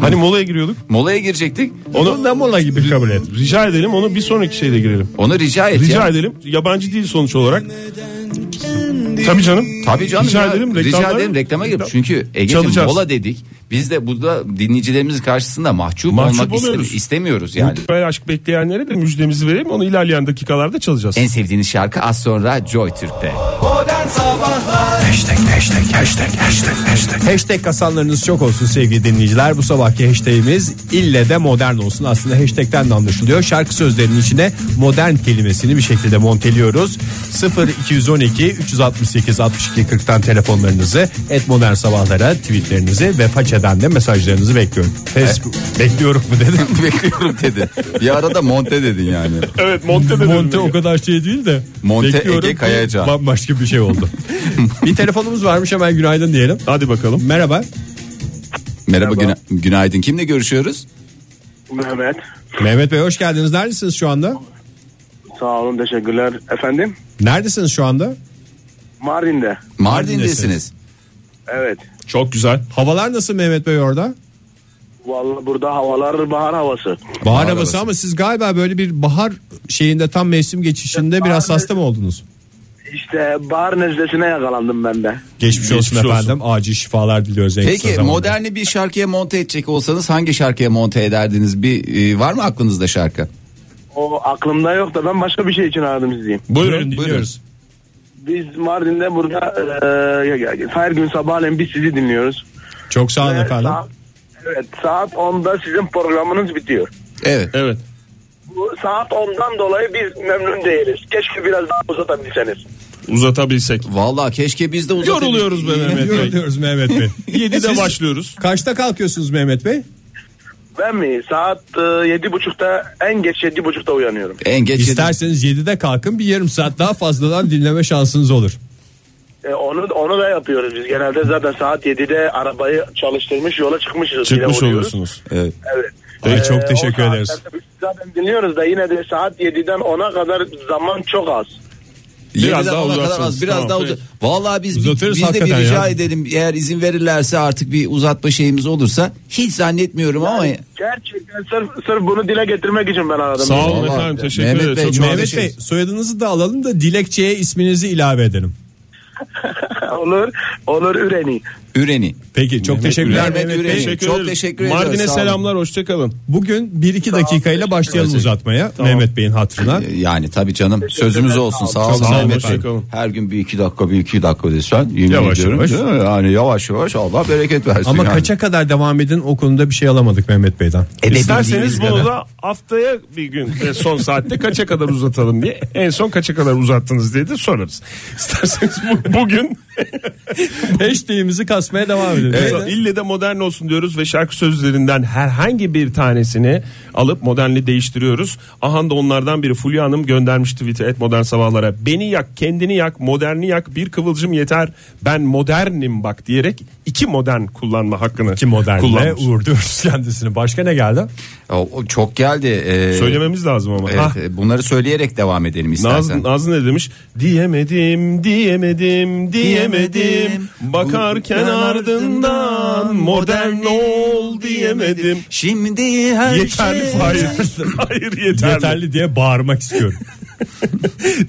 Speaker 4: hani molaya giriyorduk.
Speaker 2: Molaya girecektik.
Speaker 4: Onu da mola gibi kabul et. Rica edelim onu bir sonraki şeyle girelim.
Speaker 2: Onu rica et
Speaker 4: Rica
Speaker 2: ya.
Speaker 4: edelim. Yabancı değil sonuç olarak. Tabii canım.
Speaker 2: Tabii canım
Speaker 4: Rica
Speaker 2: ya.
Speaker 4: edelim.
Speaker 2: rica
Speaker 4: reklamlar-
Speaker 2: edelim reklama gir.
Speaker 4: Reklam-
Speaker 2: Çünkü Ege'cim
Speaker 4: Çalacağız.
Speaker 2: mola dedik. Biz de burada dinleyicilerimiz karşısında mahcup,
Speaker 4: Mahcup
Speaker 2: olmak iste-
Speaker 4: oluyoruz.
Speaker 2: istemiyoruz yani.
Speaker 4: Mutlu aşk bekleyenlere de müjdemizi verelim. Onu ilerleyen dakikalarda çalacağız.
Speaker 2: En sevdiğiniz şarkı az sonra Joy Türk'te.
Speaker 9: Hashtag hashtag hashtag hashtag hashtag.
Speaker 3: Hashtag kasanlarınız çok olsun sevgili dinleyiciler. Bu sabahki hashtagimiz ille de modern olsun. Aslında hashtagten de anlaşılıyor. Şarkı sözlerinin içine modern kelimesini bir şekilde monteliyoruz. 0 212 368 62 40'tan telefonlarınızı et modern sabahlara tweetlerinizi ve façeden de mesajlarınızı bekliyorum. Facebook bekliyorum mu dedim.
Speaker 2: <laughs> <laughs> Bekliyorum dedi. Bir arada monte dedin yani.
Speaker 4: Evet monte de
Speaker 3: Monte o kadar şey değil de.
Speaker 2: Monte
Speaker 3: bekliyorum
Speaker 2: Ege
Speaker 3: bu
Speaker 2: Kayacan.
Speaker 3: Bambaşka bir
Speaker 2: <laughs>
Speaker 3: şey oldu. bir telefonumuz varmış hemen günaydın diyelim.
Speaker 4: Hadi bakalım.
Speaker 3: Merhaba.
Speaker 2: Merhaba, güna- günaydın. Kimle görüşüyoruz?
Speaker 10: Mehmet.
Speaker 3: Mehmet Bey hoş geldiniz. Neredesiniz şu anda?
Speaker 10: Sağ olun teşekkürler. Efendim?
Speaker 3: Neredesiniz şu anda?
Speaker 10: Mardin'de.
Speaker 2: Mardin'desiniz.
Speaker 10: Evet.
Speaker 4: Çok güzel.
Speaker 3: Havalar nasıl Mehmet Bey orada?
Speaker 10: Vallahi burada havalar bahar havası.
Speaker 3: Bahar havası
Speaker 2: havası.
Speaker 3: ama siz galiba böyle bir bahar şeyinde tam mevsim geçişinde biraz hasta mı oldunuz?
Speaker 10: İşte bahar nezlesine yakalandım ben de.
Speaker 3: Geçmiş olsun
Speaker 4: Geçmiş olsun.
Speaker 3: efendim. Acil şifalar diliyoruz en kısa
Speaker 2: Peki
Speaker 3: zamanda.
Speaker 2: moderni bir şarkıya monte edecek olsanız hangi şarkıya monte ederdiniz? Bir e, var mı aklınızda şarkı?
Speaker 10: O aklımda yok da ben başka bir şey için aradım sizi.
Speaker 4: Buyurun.
Speaker 3: dinliyoruz.
Speaker 10: Biz Mardin'de burada e, her gün sabahleyin biz sizi dinliyoruz.
Speaker 3: Çok sağ olun
Speaker 10: Ve
Speaker 3: efendim.
Speaker 10: saat- evet saat 10'da sizin programınız bitiyor.
Speaker 2: Evet.
Speaker 4: Evet.
Speaker 10: Bu saat 10'dan dolayı biz memnun değiliz. Keşke biraz daha uzatabilseniz.
Speaker 4: Uzatabilsek.
Speaker 2: Vallahi keşke biz de uzatabil-
Speaker 4: Yoruluyoruz be Mehmet Bey.
Speaker 3: Yoruluyoruz Mehmet <laughs> Bey.
Speaker 4: 7'de
Speaker 3: Siz
Speaker 4: başlıyoruz.
Speaker 3: Kaçta kalkıyorsunuz Mehmet Bey?
Speaker 10: Ben mi? Saat e, 7.30'da en geç 7.30'da uyanıyorum.
Speaker 2: En geç yedi-
Speaker 3: İsterseniz 7'de kalkın bir yarım saat daha fazladan dinleme şansınız olur.
Speaker 10: E, onu onu da yapıyoruz biz. Genelde zaten saat 7'de arabayı çalıştırmış yola çıkmışız. bile
Speaker 4: Çıkmış
Speaker 10: oluyoruz.
Speaker 4: oluyorsunuz.
Speaker 2: Evet.
Speaker 10: Evet. E,
Speaker 3: Peki, çok
Speaker 10: o
Speaker 3: teşekkür
Speaker 10: saatlerde
Speaker 3: ederiz.
Speaker 10: biz Zaten dinliyoruz da yine de saat 7'den 10'a kadar zaman çok az.
Speaker 4: Biraz
Speaker 2: Yediden
Speaker 4: daha
Speaker 2: ona kadar
Speaker 4: uzatsanız,
Speaker 2: az, biraz
Speaker 4: tamam,
Speaker 2: daha uza-
Speaker 4: peki.
Speaker 2: Vallahi biz biz
Speaker 3: Uzatırız
Speaker 2: de bir
Speaker 3: hakikaten
Speaker 2: rica
Speaker 3: ya.
Speaker 2: edelim. Eğer izin verirlerse artık bir uzatma şeyimiz olursa hiç zannetmiyorum ama
Speaker 10: Gerçekten sırf, sırf bunu dile getirmek için ben aradım.
Speaker 4: Sağ olun
Speaker 2: Vallahi
Speaker 4: efendim. Teşekkür
Speaker 2: Mehmet
Speaker 4: ederiz.
Speaker 2: Bey,
Speaker 4: Çok
Speaker 2: çok-
Speaker 4: nazik.
Speaker 3: Mehmet Bey soyadınızı da alalım da dilekçeye isminizi ilave edelim.
Speaker 10: <laughs> olur, olur üreni.
Speaker 2: üreni.
Speaker 3: Peki çok teşekkürler
Speaker 2: Mehmet
Speaker 3: Mehmet
Speaker 2: Üreni.
Speaker 3: Bey.
Speaker 4: Teşekkür
Speaker 2: Çok
Speaker 4: ederiz.
Speaker 2: teşekkür ediyoruz,
Speaker 4: Mardin'e
Speaker 2: sağ olun.
Speaker 4: selamlar. Hoşçakalın.
Speaker 3: Bugün 1-2 dakikayla başlayalım uzatmaya Mehmet Bey'in hatırına.
Speaker 2: E, Yani tabii canım sözümüz olsun sağ olun
Speaker 4: Sağ olun,
Speaker 2: Mehmet Bey.
Speaker 4: hoşça kalın.
Speaker 2: Her gün bir iki dakika bir iki dakika desen yemin
Speaker 4: Yavaş
Speaker 2: ediyorum.
Speaker 4: yavaş.
Speaker 2: değil mi? Yani yavaş yavaş Allah bereket versin.
Speaker 3: Ama
Speaker 2: yani.
Speaker 3: kaça kadar devam edin o konuda bir şey alamadık Mehmet Bey'den.
Speaker 4: İsterseniz
Speaker 3: kadar.
Speaker 4: bunu da haftaya bir gün e, son saatte kaça kadar uzatalım diye en son kaça kadar uzattınız diye de sorarız. İsterseniz bu- bugün
Speaker 3: Hashtag'imizi E, kasmaya devam edelim.
Speaker 4: Evet. İlle de modern olsun diyoruz ve şarkı sözlerinden herhangi bir tanesini alıp modernli değiştiriyoruz. Ahan da onlardan biri Fulya Hanım göndermiş tweet'e et modern sabahlara. Beni yak, kendini yak, moderni yak, bir kıvılcım yeter. Ben modernim bak diyerek iki modern kullanma hakkını
Speaker 3: Ki modernle
Speaker 4: kullanmış.
Speaker 3: uğurluyoruz kendisini. Başka ne geldi?
Speaker 2: O- o çok geldi. Ee,
Speaker 4: Söylememiz lazım ama.
Speaker 2: evet,
Speaker 4: Hah.
Speaker 2: e, bunları söyleyerek devam edelim istersen.
Speaker 4: Nazlı, Nazlı ne demiş? Diyemedim, diyemedim, diyemedim. Bakarken
Speaker 2: Bu-
Speaker 4: ardından modern ol <laughs> diyemedim.
Speaker 2: Şimdi her
Speaker 4: Yeterli
Speaker 2: şey.
Speaker 4: Fahir. Hayır yeterli.
Speaker 3: Yeterli diye bağırmak istiyorum.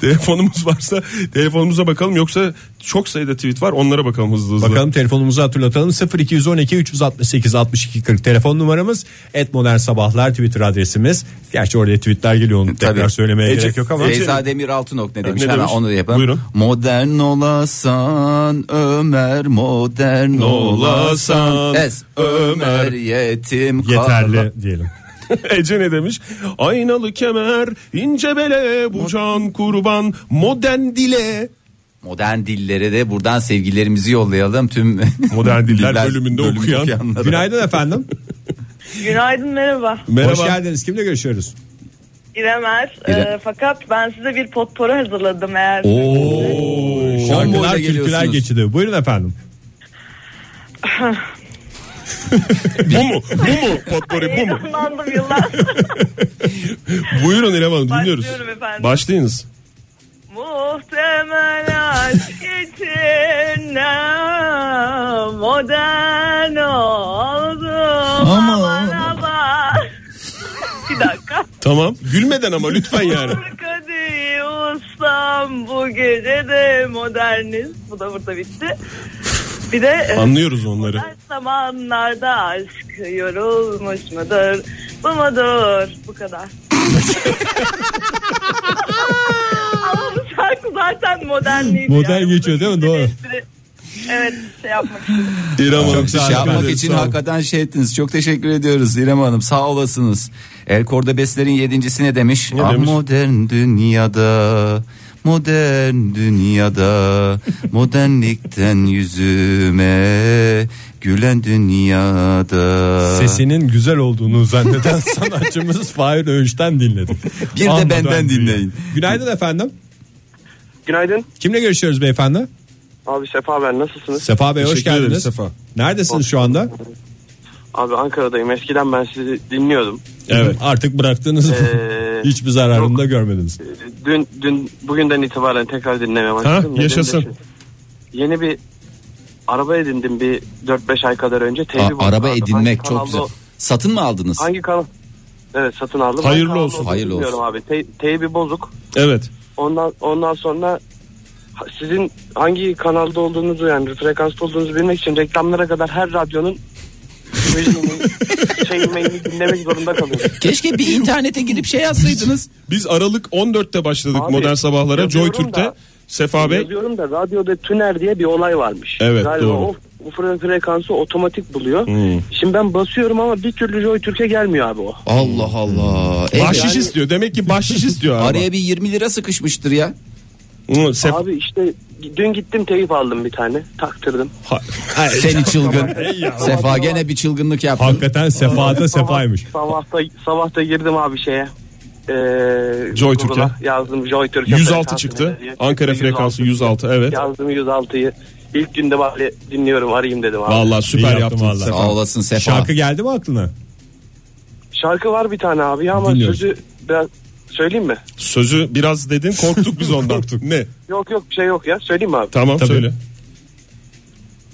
Speaker 4: Telefonumuz varsa telefonumuza bakalım yoksa çok sayıda tweet var onlara bakalım hızlı hızlı.
Speaker 3: <laughs> Bakalım telefonumuzu hatırlatalım 0212 368 62 40 telefon numaramız et modern sabahlar Twitter adresimiz. Gerçi orada tweetler geliyor onu tekrar
Speaker 2: Tabii.
Speaker 3: söylemeye
Speaker 4: Ece-
Speaker 3: gerek yok ama.
Speaker 2: Feyza Demir Altınok ne demiş?
Speaker 4: Ne
Speaker 2: Hemen
Speaker 4: demiş?
Speaker 2: onu da yapalım.
Speaker 4: Buyurun.
Speaker 2: Modern olasan Ömer modern olasan.
Speaker 4: Olasan
Speaker 2: Es Ömer
Speaker 4: Ömer.
Speaker 2: yetim kal-
Speaker 3: Yeterli diyelim.
Speaker 4: <laughs> Ece ne demiş? Aynalı kemer, ince bele, bu can kurban, modern dile.
Speaker 2: Modern dillere de buradan sevgilerimizi yollayalım tüm
Speaker 4: Modern diller bölümünde okuyan.
Speaker 2: okuyanlara.
Speaker 3: Günaydın efendim.
Speaker 11: Günaydın merhaba.
Speaker 3: Hoş
Speaker 4: Merhaba.
Speaker 3: geldiniz. Kimle görüşüyoruz?
Speaker 11: İrem Er. Ee,
Speaker 2: İrem.
Speaker 11: fakat ben size bir potpora hazırladım eğer.
Speaker 3: Şarkılar
Speaker 2: Bomboyla
Speaker 3: kültürel
Speaker 2: geliyorsunuz.
Speaker 3: geçidi. Buyurun efendim.
Speaker 4: Bu mu? Bu mu? Potpourri bu mu?
Speaker 11: Heyecanlandım yıllar.
Speaker 4: <laughs> Buyurun İrem Hanım dinliyoruz.
Speaker 11: Başlıyorum efendim.
Speaker 4: Başlayınız.
Speaker 11: Muhtemel aşk içinde modern oldum.
Speaker 2: Ama-
Speaker 11: ama. bir dakika.
Speaker 4: Tamam. Gülmeden ama lütfen yani.
Speaker 11: Kadir ustam bu gece de modernist. Bu da burada bitti. Bir de e,
Speaker 4: Anlıyoruz onları.
Speaker 11: Her zamanlarda aşk yorulmuş mudur? Bu mudur? Bu kadar. <laughs> Ama bu şarkı zaten modernliği.
Speaker 3: Modern geçiyor değil mi? Doğru.
Speaker 11: Evet şey yapmak istedim.
Speaker 4: İrem Hanım.
Speaker 3: Çok sağ olun.
Speaker 2: Şey yapmak
Speaker 3: Teşekkür
Speaker 2: için
Speaker 3: ederim, sağ olun.
Speaker 2: hakikaten şey ettiniz. Çok teşekkür ediyoruz İrem Hanım. Sağ olasınız. El Kordobesler'in yedincisi ne demiş? Ah,
Speaker 4: demiş?
Speaker 2: Modern dünyada Modern
Speaker 3: <laughs>
Speaker 2: dünyada modernlikten yüzüme gülen dünyada.
Speaker 3: Sesinin güzel olduğunu zanneden <laughs> sanatçımız Fahir Öğüş'ten dinledik.
Speaker 2: Bir de
Speaker 3: Anladım.
Speaker 2: benden dinleyin.
Speaker 3: Günaydın efendim.
Speaker 12: Günaydın.
Speaker 3: Kimle görüşüyoruz beyefendi?
Speaker 12: Abi Sefa ben nasılsınız?
Speaker 3: Sefa Bey hoş
Speaker 4: Teşekkür ederim,
Speaker 3: geldiniz.
Speaker 4: Sefa.
Speaker 3: Neredesiniz şu anda?
Speaker 12: Abi Ankara'dayım. Eskiden ben sizi
Speaker 3: <laughs>
Speaker 12: dinliyordum.
Speaker 3: Evet. Artık bıraktınız.
Speaker 12: Ee,
Speaker 3: <laughs> Hiçbir zararını da görmediniz.
Speaker 12: Dün dün bugünden itibaren tekrar dinlemeye başladım.
Speaker 4: Ha, yaşasın.
Speaker 12: Nedenim de şu, Yeni bir araba edindim bir 4-5 ay kadar önce. TV
Speaker 2: Aa,
Speaker 12: buldum
Speaker 2: araba
Speaker 12: abi.
Speaker 2: edinmek
Speaker 12: Hangi
Speaker 2: çok
Speaker 12: kanalda
Speaker 2: güzel.
Speaker 12: o-
Speaker 2: Satın mı aldınız?
Speaker 12: Hangi kanal? Evet satın aldım.
Speaker 4: Hayırlı
Speaker 12: Hangi kanalda
Speaker 4: olsun.
Speaker 12: olduğunu
Speaker 2: Hayırlı
Speaker 12: bilmiyorum
Speaker 2: olsun.
Speaker 12: abi. Te- teybi bozuk.
Speaker 4: Evet.
Speaker 12: Ondan ondan sonra ha- sizin hangi kanalda olduğunuzu yani frekansta olduğunuzu bilmek için reklamlara kadar her
Speaker 4: <laughs>
Speaker 12: radyonun müziğini, şey mailini dinlemek zorunda kalıyorum.
Speaker 2: Keşke bir internete girip şey
Speaker 3: <laughs>
Speaker 2: yazsaydınız.
Speaker 4: Biz Aralık 14'te başladık
Speaker 12: Abi,
Speaker 4: modern sabahlara. Joy
Speaker 12: yazıyorum
Speaker 4: Türk'te.
Speaker 12: da-
Speaker 4: Sefa Bey.
Speaker 12: Yazıyorum da radyoda tüner diye bir olay varmış.
Speaker 4: Evet,
Speaker 12: Galiba
Speaker 4: doğru.
Speaker 12: O, o fre- frekansı otomatik buluyor.
Speaker 4: Hmm.
Speaker 12: Şimdi ben basıyorum ama bir türlü Joy Türk'e gelmiyor abi o.
Speaker 2: Allah Allah. Evet.
Speaker 4: Bahşiş istiyor. Demek ki bahşiş istiyor ama.
Speaker 2: Araya bir 20 lira sıkışmıştır ya.
Speaker 4: Hı, Sef-
Speaker 12: Abi işte dün gittim teyip aldım bir tane. Taktırdım.
Speaker 4: Ha-
Speaker 2: Seni çılgın. Sefa gene bir çılgınlık yaptın.
Speaker 3: Hakikaten Sefa da Sefa'ymış.
Speaker 12: Sabah da, sabah da girdim abi şeye. Ee,
Speaker 4: Joy
Speaker 12: Google'a
Speaker 4: Türk'e.
Speaker 12: Yazdım Joy Türk'e.
Speaker 4: 106
Speaker 12: frekansı
Speaker 4: çıktı.
Speaker 12: ne diye.
Speaker 4: Ankara frekansı 106 evet.
Speaker 12: Yazdım 106'yı. İlk günde bari dinliyorum arayayım dedim abi.
Speaker 4: Vallahi süper
Speaker 3: İyi yaptın
Speaker 4: yaptın
Speaker 3: vallahi.
Speaker 4: Sefa.
Speaker 2: Sağ olasın Sefa.
Speaker 3: Şarkı geldi mi aklına?
Speaker 12: Şarkı var bir tane abi ama
Speaker 3: Dinliyoruz.
Speaker 12: sözü biraz söyleyeyim mi?
Speaker 4: Sözü biraz dedin korktuk biz ondan. ne?
Speaker 12: Yok yok bir şey yok ya söyleyeyim mi abi?
Speaker 4: Tamam söyle.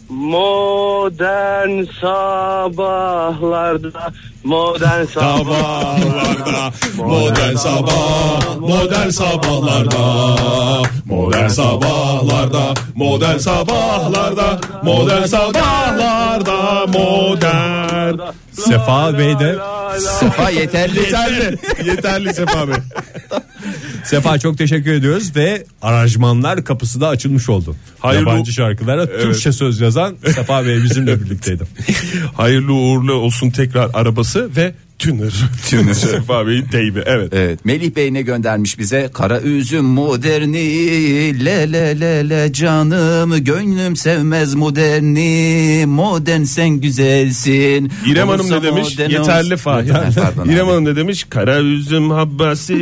Speaker 12: Modern sabahlarda modern
Speaker 4: Sabahlarda modern sabah modern sabahlarda modern sabahlarda modern sabahlarda modern sabahlarda modern
Speaker 3: Sefa Bey de
Speaker 2: Sefa yeterli.
Speaker 4: <laughs> yeterli yeterli Sefa Bey.
Speaker 3: Sefa çok teşekkür ediyoruz ve aranjmanlar kapısı da açılmış oldu.
Speaker 4: Hayırlı-
Speaker 3: Yabancı şarkılara Türkçe söz yazan Sefa Bey bizimle birlikteydi.
Speaker 4: <laughs> Hayırlı uğurlu olsun tekrar arabası ve tünür. <laughs> E, Sefa Bey'in deyimi evet.
Speaker 2: Evet, Melih Bey ne göndermiş bize? Kara üzüm moderni, le le le le canım, gönlüm sevmez moderni, modern sen güzelsin.
Speaker 4: İrem Hanım
Speaker 2: Olursa
Speaker 4: ne demiş?
Speaker 2: modern
Speaker 4: Yeterli
Speaker 2: olsun.
Speaker 4: Fahir.
Speaker 2: Ha, pardon
Speaker 4: <laughs> İrem
Speaker 2: abi.
Speaker 4: Hanım ne demiş? Kara üzüm habbasi,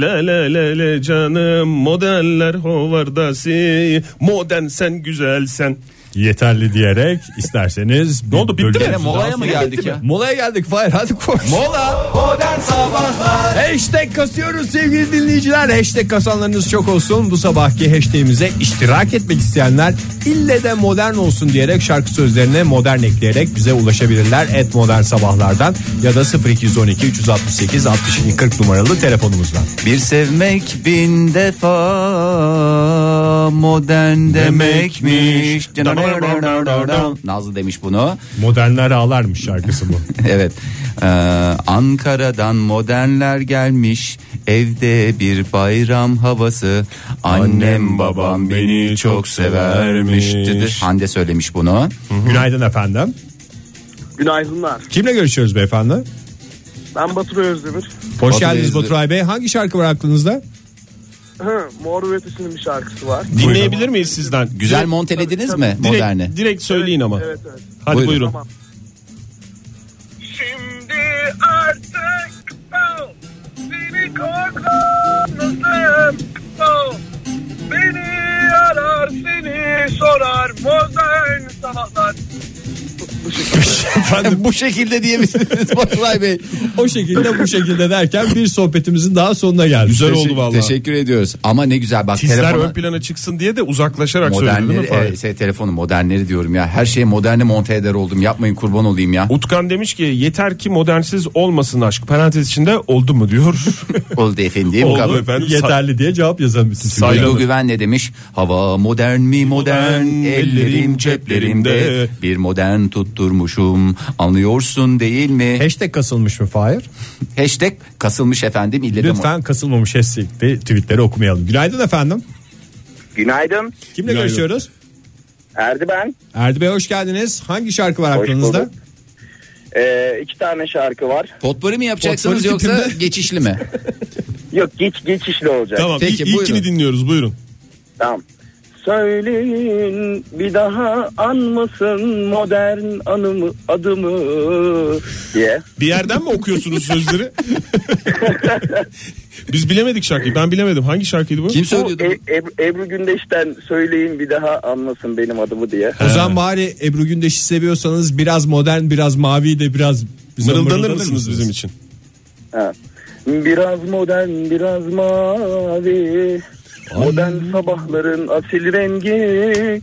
Speaker 4: la la la la canım, modeller hovardasi, modern sen güzelsen.
Speaker 3: yeterli diyerek isterseniz ne oldu
Speaker 2: bitti mi? Molaya mı geldik ya?
Speaker 3: Molaya geldik. Hayır hadi koş.
Speaker 2: Mola Modern Sabahlar
Speaker 3: Hashtag kasıyoruz sevgili dinleyiciler. Hashtag kasanlarınız çok olsun. Bu sabahki hashtagimize iştirak etmek isteyenler ille de modern olsun diyerek şarkı sözlerine modern ekleyerek bize ulaşabilirler. Et modern sabahlardan ya da 0212 368 62 40 numaralı telefonumuzdan.
Speaker 2: Bir sevmek bin defa modern demekmiş. Nazlı demiş bunu.
Speaker 3: Modernler ağlarmış şarkısı <laughs> bu.
Speaker 2: <laughs> Evet. Ee, Ankara'dan modernler gelmiş. Evde bir bayram havası. Annem babam beni çok severmiş dedi. Hande söylemiş bunu.
Speaker 3: Günaydın efendim.
Speaker 12: Günaydınlar.
Speaker 3: Kimle görüşüyoruz beyefendi?
Speaker 12: Ben Batur Özdemir.
Speaker 3: Hoş
Speaker 2: Batu
Speaker 3: geldiniz
Speaker 2: Özdemir.
Speaker 3: Baturay Bey. Hangi şarkı var aklınızda?
Speaker 12: Hı, Mor ve Ötesi'nin bir şarkısı var.
Speaker 4: Dinleyebilir miyiz sizden?
Speaker 2: Güzel montelediniz
Speaker 12: Tabii,
Speaker 2: mi
Speaker 4: Direkt,
Speaker 2: moderni?
Speaker 4: direkt söyleyin ama.
Speaker 12: Evet evet.
Speaker 4: Hadi
Speaker 2: Buyurun.
Speaker 4: buyurun.
Speaker 12: Tamam.
Speaker 11: Şimdi artık oh, seni korkmazım. Oh, beni arar seni sorar modern sabahlar.
Speaker 2: <laughs> bu şekilde diyebilirsiniz Baturay Bey.
Speaker 3: O şekilde bu şekilde derken bir sohbetimizin daha sonuna geldik.
Speaker 4: Güzel oldu
Speaker 2: Teşekkür-
Speaker 4: vallahi.
Speaker 2: Teşekkür ediyoruz. Ama ne güzel bak
Speaker 4: Hisler
Speaker 2: telefonu-
Speaker 4: ön plana çıksın diye de uzaklaşarak söyledin değil mi
Speaker 2: Modernleri,
Speaker 4: Fahir?
Speaker 2: e, şey, telefonu modernleri diyorum ya. Her şeye moderni monte eder oldum. Yapmayın kurban olayım ya.
Speaker 4: Utkan demiş ki yeter ki modernsiz olmasın aşk. Parantez içinde oldu mu <laughs> diyor.
Speaker 2: Oldu efendim.
Speaker 4: Oldu
Speaker 2: Kabul.
Speaker 4: efendim.
Speaker 3: Yeterli diye cevap yazan bütün
Speaker 4: Say-
Speaker 2: Duygu
Speaker 4: Ayrıldı.
Speaker 2: Güven ne demiş? Hava modern mi modern,
Speaker 4: Modern,
Speaker 2: ellerim
Speaker 4: ellerim
Speaker 2: ceplerimde
Speaker 4: ceplerimde.
Speaker 2: bir modern tutturmuşum anlıyorsun değil mi?
Speaker 3: Hashtag kasılmış mı Fahir?
Speaker 2: Hashtag kasılmış efendim ille de
Speaker 3: Lütfen kasılmamış hashtag tweetleri okumayalım. Günaydın efendim.
Speaker 13: Günaydın.
Speaker 3: Kimle
Speaker 4: Günaydın.
Speaker 3: görüşüyoruz?
Speaker 13: Erdi ben.
Speaker 3: Erdi Bey hoş geldiniz. Hangi şarkı var
Speaker 13: Hoş
Speaker 3: aklınızda?
Speaker 13: bulduk. Ee, iki tane şarkı var.
Speaker 2: Potpori mi yapacaksınız
Speaker 3: Potpori
Speaker 2: yoksa
Speaker 3: tipinde.
Speaker 2: geçişli mi?
Speaker 13: Yok geç geçişli olacak.
Speaker 4: tamam
Speaker 2: Peki,
Speaker 4: ilk, ilkini
Speaker 2: buyurun.
Speaker 4: dinliyoruz buyurun.
Speaker 13: Tamam. Söyleyin bir daha anmasın modern anımı adımı diye.
Speaker 4: Bir yerden mi okuyorsunuz
Speaker 3: <laughs>
Speaker 4: sözleri? Biz bilemedik şarkıyı. Ben bilemedim. Hangi şarkıydı bu?
Speaker 2: Kim
Speaker 13: Bu
Speaker 2: söylüyordu?
Speaker 13: E- Ebru, Ebru Gündeş'ten söyleyin bir daha anmasın benim adımı diye.
Speaker 3: O zaman bari Ebru Gündeş'i seviyorsanız biraz modern, biraz mavi de biraz bize
Speaker 4: Mırıldanır mısınız bizim için?
Speaker 13: Ha. Biraz modern biraz mavi. Modern sabahların asil rengi.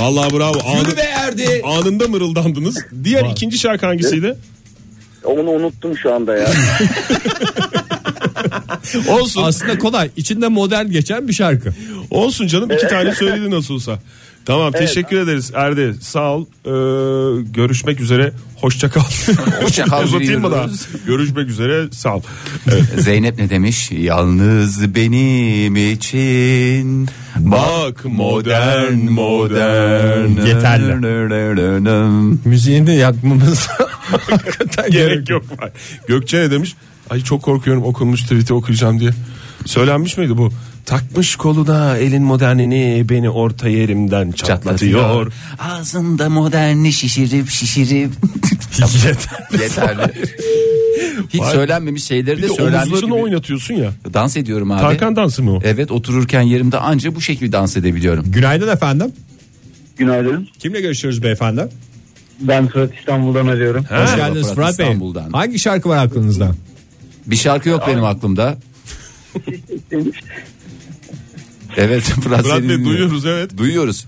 Speaker 4: Vallahi bravo. Anı-
Speaker 2: Yürü be Erdi.
Speaker 4: anında mırıldandınız. Diğer ikinci şarkı hangisiydi?
Speaker 13: Onu unuttum şu anda ya.
Speaker 4: Olsun.
Speaker 3: Aslında kolay. İçinde modern geçen bir şarkı.
Speaker 4: Olsun canım. iki tane söyledi nasıl olsa. Tamam teşekkür ederiz Erdi. Sağ ol. Ee, görüşmek üzere. Hoşça kal.
Speaker 2: Hoşça kal
Speaker 4: <laughs> Uzatayım mı daha?
Speaker 2: diyoruz.
Speaker 4: Görüşmek üzere. Sağ ol.
Speaker 2: Zeynep ne demiş? Yalnız benim için
Speaker 4: Bak modern modern.
Speaker 2: Yeterli.
Speaker 3: Müziğini yakmamız <laughs> hakikaten
Speaker 4: Gerek yok. Gökçe ne demiş? Ay çok korkuyorum okunmuş tweet'i okuyacağım diye. Söylenmiş miydi bu? Takmış koluna elin modernini beni orta yerimden çatlatıyor.
Speaker 2: Ağzında moderni şişirip şişirip. <laughs> Yeterli. Hiç
Speaker 4: Vay.
Speaker 2: söylenmemiş şeyleri
Speaker 4: Bir
Speaker 2: de
Speaker 4: de
Speaker 2: söylenmiş
Speaker 4: omuzlarını
Speaker 2: gibi.
Speaker 4: oynatıyorsun ya.
Speaker 2: Dans ediyorum abi. e,
Speaker 4: Tarkan dansı mı o?
Speaker 2: Evet otururken yerimde anca bu şekilde dans edebiliyorum.
Speaker 3: Günaydın efendim.
Speaker 12: Günaydın.
Speaker 3: Kimle görüşüyoruz beyefendi?
Speaker 12: Ben Fırat İstanbul'dan arıyorum.
Speaker 3: Hoş
Speaker 2: Merhaba
Speaker 3: geldiniz
Speaker 2: Fırat
Speaker 3: Fırat Bey.
Speaker 2: İstanbul'dan.
Speaker 3: Hangi şarkı var aklınızda?
Speaker 2: Bir şarkı yok benim aklımda. evet Fırat,
Speaker 4: Fırat
Speaker 2: seni
Speaker 4: Bey
Speaker 2: dinliyorum.
Speaker 4: duyuyoruz evet.
Speaker 2: Duyuyoruz.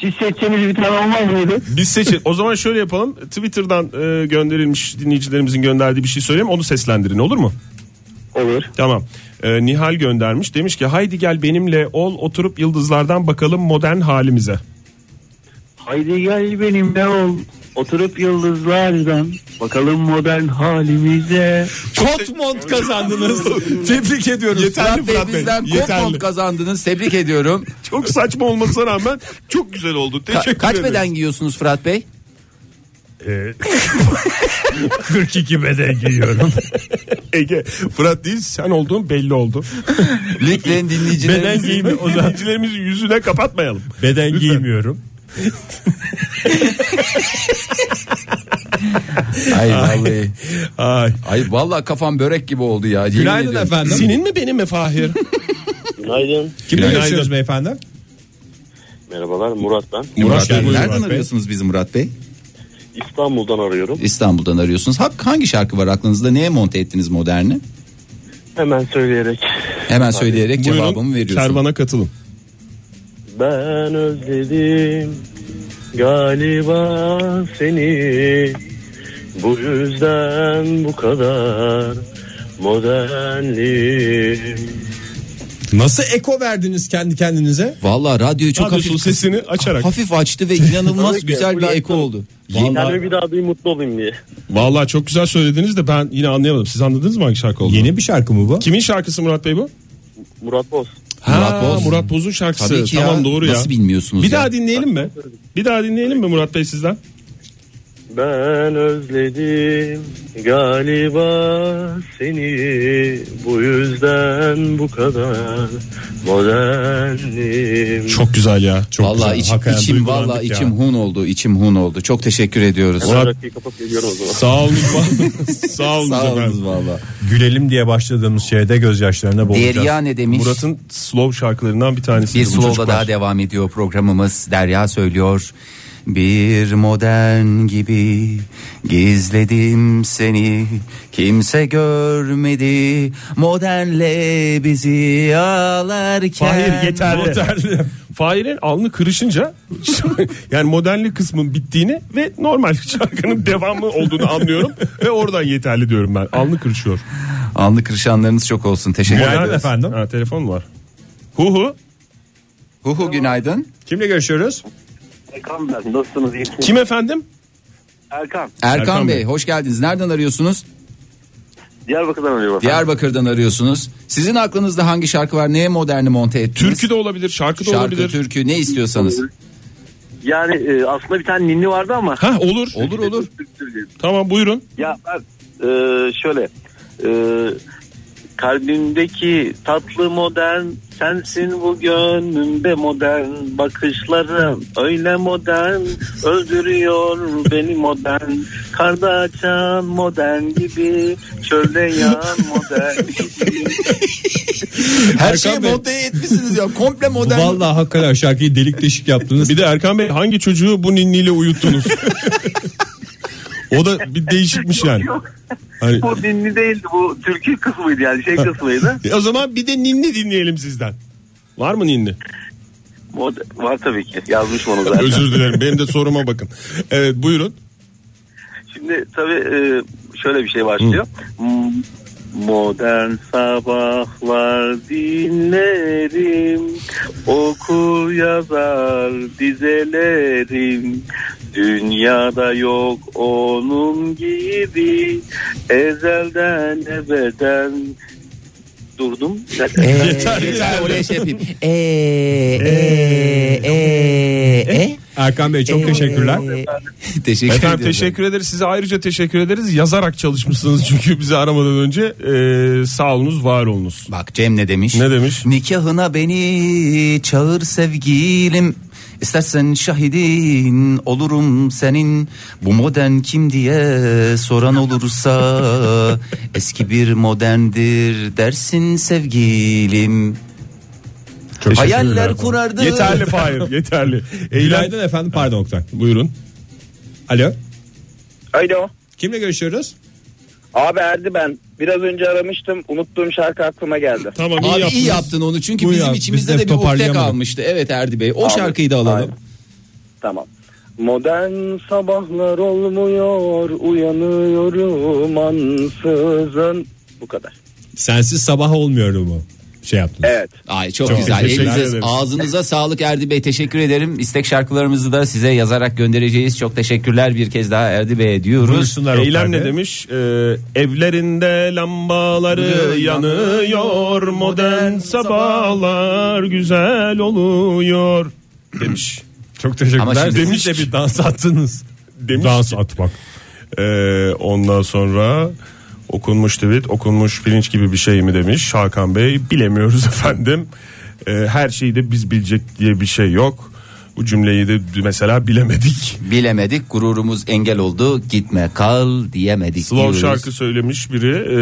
Speaker 12: Siz seçseniz bir tane olmaz mıydı?
Speaker 4: Biz seçin. O zaman şöyle yapalım. Twitter'dan e, gönderilmiş dinleyicilerimizin gönderdiği bir şey söyleyeyim. Onu seslendirin olur mu?
Speaker 12: Olur.
Speaker 4: Tamam. E, Nihal göndermiş. Demiş ki haydi gel benimle ol oturup yıldızlardan bakalım modern halimize.
Speaker 12: Haydi gel benimle ol. Oturup yıldızlardan bakalım modern halimize.
Speaker 3: Kot mont <laughs> kazandınız. Tebrik ediyoruz.
Speaker 2: Fırat Bey bizden kupon kazandınız. Tebrik ediyorum.
Speaker 4: Çok saçma olmasına rağmen çok güzel oldu.
Speaker 2: Ka-
Speaker 4: Teşekkür
Speaker 2: kaç
Speaker 4: ederim.
Speaker 2: beden giyiyorsunuz Fırat Bey?
Speaker 4: <laughs>
Speaker 3: 42 beden giyiyorum.
Speaker 4: Ege Fırat değil sen olduğun belli oldu.
Speaker 2: Lütfen
Speaker 3: beden
Speaker 2: dinleyicilerimiz.
Speaker 3: giyimi o zaman.
Speaker 4: Dinleyicilerimizi yüzüne kapatmayalım.
Speaker 3: Beden
Speaker 4: Lütfen.
Speaker 3: giymiyorum.
Speaker 2: Ay vallahi.
Speaker 4: Ay.
Speaker 2: Ay vallahi kafam börek gibi oldu ya. Yemin
Speaker 3: Günaydın
Speaker 2: ediyorum.
Speaker 3: efendim.
Speaker 4: Senin mi benim mi Fahir?
Speaker 13: Günaydın.
Speaker 3: Kimle
Speaker 4: Günaydın.
Speaker 3: görüşüyoruz beyefendi?
Speaker 14: Merhabalar Murat ben.
Speaker 2: Murat Bey nereden arıyorsunuz bizi Murat Bey?
Speaker 14: İstanbul'dan arıyorum.
Speaker 2: İstanbul'dan arıyorsunuz. Hak- Hangi şarkı var aklınızda? Neye monte ettiniz moderni?
Speaker 14: Hemen söyleyerek.
Speaker 2: Hemen söyleyerek cevabımı veriyorsun.
Speaker 4: Kervana katılın.
Speaker 14: Ben özledim galiba seni. Bu yüzden bu kadar modernlim.
Speaker 3: Nasıl eko verdiniz kendi kendinize?
Speaker 2: Vallahi radyoyu
Speaker 14: çok Radyosun hafif- sesini
Speaker 3: açarak.
Speaker 2: Hafif açtı ve
Speaker 14: Tabii ki, bıraktım. Kendimi bir daha duyayım mutlu olayım diye.
Speaker 4: Vallahi çok güzel söylediniz de ben yine anlayamadım. Siz anladınız mı hangi şarkı olduğunu? Yeni
Speaker 3: bir şarkı mı bu?
Speaker 4: Kimin şarkısı Murat Bey bu?
Speaker 14: Murat Boz.
Speaker 4: Ha, Murat, Boz'un şarkısı.
Speaker 2: Tabii ki ya.
Speaker 4: tamam doğru ya.
Speaker 2: Nasıl bilmiyorsunuz
Speaker 4: Bir
Speaker 2: ya?
Speaker 4: daha dinleyelim mi? Bir daha dinleyelim mi Murat Bey sizden?
Speaker 14: Ben özledim galiba seni bu yüzden bu kadar modernim.
Speaker 4: Çok güzel ya.
Speaker 14: Çok
Speaker 2: vallahi
Speaker 14: güzel.
Speaker 2: iç-
Speaker 14: Hakikaten
Speaker 2: içim
Speaker 14: duygulandık
Speaker 2: vallahi
Speaker 14: ya.
Speaker 2: içim hun oldu. içim hun oldu. Çok teşekkür ediyoruz.
Speaker 14: Hemen rakıyı kapatıp geliyorum o zaman.
Speaker 4: Sağ
Speaker 3: <laughs>
Speaker 4: olun. Sağ olun.
Speaker 2: Sağ olun valla.
Speaker 3: Gülelim diye başladığımız şeyde gözyaşlarına boğulacağız.
Speaker 2: Deryane demiş.
Speaker 4: Murat'ın slow şarkılarından bir tanesi.
Speaker 2: Bir slowla daha devam ediyor programımız. Derya söylüyor. Bir modern gibi gizledim seni kimse görmedi modernle bizi ağlarken
Speaker 4: Fahir yeterli. <laughs> Fahir'in alnı kırışınca <laughs> yani modernlik kısmın bittiğini ve normal <laughs> şarkının devamı olduğunu anlıyorum ve oradan yeterli diyorum ben. Alnı kırışıyor.
Speaker 2: Alnı kırışanlarınız çok olsun teşekkür
Speaker 4: Günaydın
Speaker 2: ederiz
Speaker 4: efendim. Ha, telefon var. Hu hu.
Speaker 2: Hu hu günaydın.
Speaker 4: Kimle görüşüyoruz?
Speaker 14: Erkan ben. Nasılsınız? İyi misiniz?
Speaker 4: Kim efendim?
Speaker 14: Erkan.
Speaker 2: Erkan, Bey, hoş geldiniz nereden arıyorsunuz
Speaker 14: Diyarbakır'dan arıyorum.
Speaker 2: Diyarbakır'dan arıyorsunuz sizin aklınızda hangi şarkı var neye moderni monte ettiniz
Speaker 4: Türkü de olabilir şarkı da
Speaker 2: şarkı
Speaker 4: olabilir.
Speaker 2: türkü ne istiyorsanız
Speaker 14: Yani e, aslında bir tane ninni vardı ama.
Speaker 4: Ha olur. Olur
Speaker 2: olur.
Speaker 4: Tamam buyurun.
Speaker 14: Ya ben e, şöyle e, kalbimdeki tatlı modern sensin bu gönlümde modern bakışların öyle modern öldürüyor beni modern karda açan modern gibi çölde yağan <laughs> modern
Speaker 2: Her
Speaker 4: şeyi
Speaker 2: monte etmişsiniz ya. Komple modern.
Speaker 3: Vallahi hakikaten şarkıyı delik deşik yaptınız.
Speaker 4: Bir de Erkan Bey hangi çocuğu bu
Speaker 2: <laughs>
Speaker 4: ninniyle uyuttunuz? o da bir değişikmiş yani. Hani-
Speaker 14: bu dinli değildi bu türkü kısmıydı yani şey kısmıydı
Speaker 4: E o zaman bir de ninni dinleyelim sizden. Var mı ninni?
Speaker 14: Mod- var tabii ki yazmışım onu zaten
Speaker 4: Özür dilerim benim de soruma bakın. Evet buyurun.
Speaker 14: Şimdi tabii e, şöyle bir şey başlıyor. M- Modern sabahlar dinlerim, okur yazar dizelerim. Dünyada yok onun gibi, ezelden ebeden durdum.
Speaker 4: Yeter, yeter.
Speaker 2: Oraya şey <laughs> yapayım.
Speaker 4: E,
Speaker 2: Eee eee eee
Speaker 3: Erkan Bey
Speaker 4: E.
Speaker 3: çok teşekkürler.
Speaker 2: Teşekkür
Speaker 4: Efendim
Speaker 2: ediyorum.
Speaker 4: teşekkür ederiz. Size ayrıca teşekkür ederiz. Yazarak çalışmışsınız çünkü bizi aramadan önce. Ee, sağ olunuz, var olunuz.
Speaker 2: Bak Cem ne demiş?
Speaker 4: Ne demiş?
Speaker 2: Nikahına beni çağır sevgilim. İstersen şahidin olurum senin. Bu modern kim diye soran olursa <laughs> eski bir moderndir dersin sevgilim. Hayaller kurardı.
Speaker 4: Yeterli <laughs> Fahir, yeterli. Eğlen...
Speaker 3: Günaydın efendim pardon Oktay.
Speaker 4: Buyurun.
Speaker 3: Alo.
Speaker 13: Alo.
Speaker 3: Kimle görüşüyoruz?
Speaker 13: Abi Erdi ben. Biraz önce aramıştım. Unuttuğum şarkı aklıma geldi.
Speaker 4: Tamam
Speaker 2: Abi iyi yaptın onu çünkü
Speaker 3: Bu
Speaker 2: bizim
Speaker 3: ya,
Speaker 2: içimizde
Speaker 3: biz
Speaker 2: de
Speaker 3: de
Speaker 2: bir ukde
Speaker 3: toparlayamadık.
Speaker 2: kalmıştı. Evet Erdi Bey o
Speaker 13: Abi,
Speaker 2: şarkıyı da alalım.
Speaker 13: Tamam. Modern sabahlar olmuyor. Uyanıyorum ansızın. Bu kadar.
Speaker 3: Sensiz sabah olmuyor mu? Şey yaptınız.
Speaker 13: Evet.
Speaker 2: Ay çok,
Speaker 3: Çok
Speaker 2: güzel.
Speaker 3: teşekkür
Speaker 2: Elinize,
Speaker 3: ederiz.
Speaker 2: ağzınıza sağlık Erdi Bey. Teşekkür ederim. İstek şarkılarımızı da size yazarak göndereceğiz. Çok teşekkürler bir kez daha Erdi Bey'e diyoruz.
Speaker 3: Buyursunlar
Speaker 4: Eylem
Speaker 3: Oktay
Speaker 4: ne
Speaker 3: Bey.
Speaker 4: demiş? Ee, evlerinde lambaları yanıyor, modern sabahlar güzel oluyor demiş.
Speaker 3: Çok teşekkürler.
Speaker 2: Ama şimdi-
Speaker 3: Demiş de bir dans attınız.
Speaker 4: Demiş
Speaker 3: Dans atmak.
Speaker 4: Ee, ondan sonra okunmuş tweet okunmuş pirinç gibi bir şey mi demiş Hakan Bey bilemiyoruz <laughs> efendim Ee, her şeyi de biz bilecek diye bir şey yok bu cümleyi de mesela bilemedik
Speaker 2: <laughs> Bilemedik gururumuz engel oldu. Gitme kal diyemedik
Speaker 4: slow
Speaker 2: diyoruz.
Speaker 4: şarkı söylemiş biri e,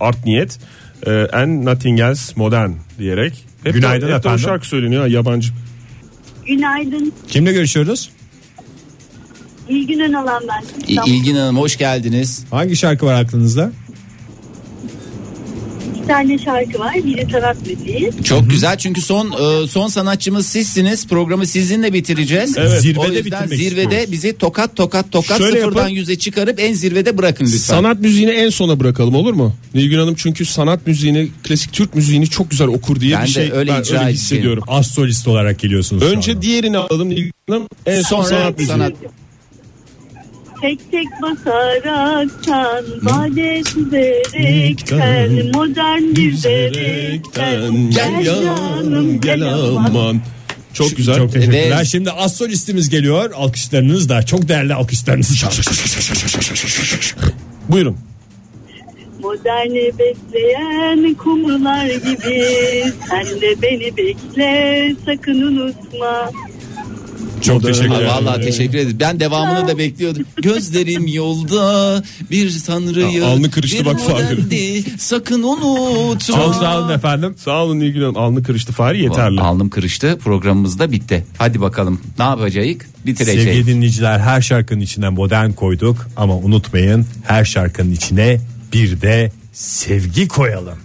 Speaker 4: art niyet e, and nothing else modern diyerek hep
Speaker 3: Günaydın
Speaker 4: de, hep de o
Speaker 3: efendim.
Speaker 4: şarkı söyleniyor ha, yabancı
Speaker 8: Günaydın.
Speaker 3: Kimle görüşüyoruz?
Speaker 8: İlgin Önalan ben.
Speaker 2: İ- İlgin Hanım hoş geldiniz.
Speaker 3: Hangi şarkı var aklınızda?
Speaker 8: İki tane şarkı var. Biri taraf müziği.
Speaker 2: Çok güzel çünkü son e, son sanatçımız sizsiniz. Programı sizinle bitireceğiz.
Speaker 3: Evet. Zirvede
Speaker 2: o yüzden
Speaker 3: bitirmek
Speaker 2: zirvede
Speaker 3: istiyoruz.
Speaker 2: bizi tokat tokat tokat
Speaker 4: Şöyle
Speaker 2: sıfırdan
Speaker 4: yapalım.
Speaker 2: yüze çıkarıp en zirvede bırakın lütfen.
Speaker 4: Sanat müziğini en sona bırakalım olur mu? Nilgün Hanım çünkü sanat müziğini, klasik Türk müziğini çok güzel okur diye
Speaker 2: Ben
Speaker 4: bir
Speaker 2: de
Speaker 4: şey
Speaker 2: öyle
Speaker 4: ben
Speaker 2: icra edeceğim.
Speaker 4: hissediyorum.
Speaker 3: Az solist olarak geliyorsunuz. şu
Speaker 4: Önce diğerini alalım Nilgün Hanım. En son
Speaker 2: Sonra
Speaker 4: sanat müziği.
Speaker 2: sanat.
Speaker 8: Tek tek basaraktan, vade süzerekten, modern düzerekten.
Speaker 4: Gel yanım gel aman. Çok güzel.
Speaker 3: Çok teşekkürler.
Speaker 4: Ve-
Speaker 3: Şimdi az solistimiz geliyor. Alkışlarınız da çok değerli alkışlarınız. Buyurun.
Speaker 8: Moderni besleyen kumrular gibi sen de beni bekle sakın unutma.
Speaker 3: Çok
Speaker 2: teşekkür
Speaker 3: ederim.
Speaker 2: Vallahi teşekkür ederim. Ben devamını da bekliyordum. Gözlerim yolda bir tanrıyı.
Speaker 4: Ya alnı kırıştı
Speaker 2: bir
Speaker 4: bak Fahir.
Speaker 2: modeldi. Sakın unutma.
Speaker 3: efendim.
Speaker 15: Sağ olun Nilgün Hanım. Alnı kırıştı Fahri yeterli.
Speaker 2: Alnım kırıştı programımız da bitti. Hadi bakalım ne yapacağız? Bitireceğiz.
Speaker 3: Sevgili dinleyiciler her şarkının içine modern koyduk ama unutmayın her şarkının içine bir de sevgi koyalım.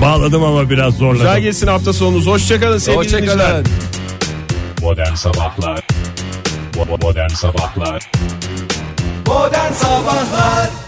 Speaker 3: Bağladım ama biraz zorladım.
Speaker 15: Güzel geçsin hafta sonunuz. Hoşçakalın sevgili
Speaker 16: Hoşça kalın.
Speaker 15: dinleyiciler.
Speaker 16: Modern Sabahlar Bo- bo- Modern Sabahlar
Speaker 7: Modern Sabahlar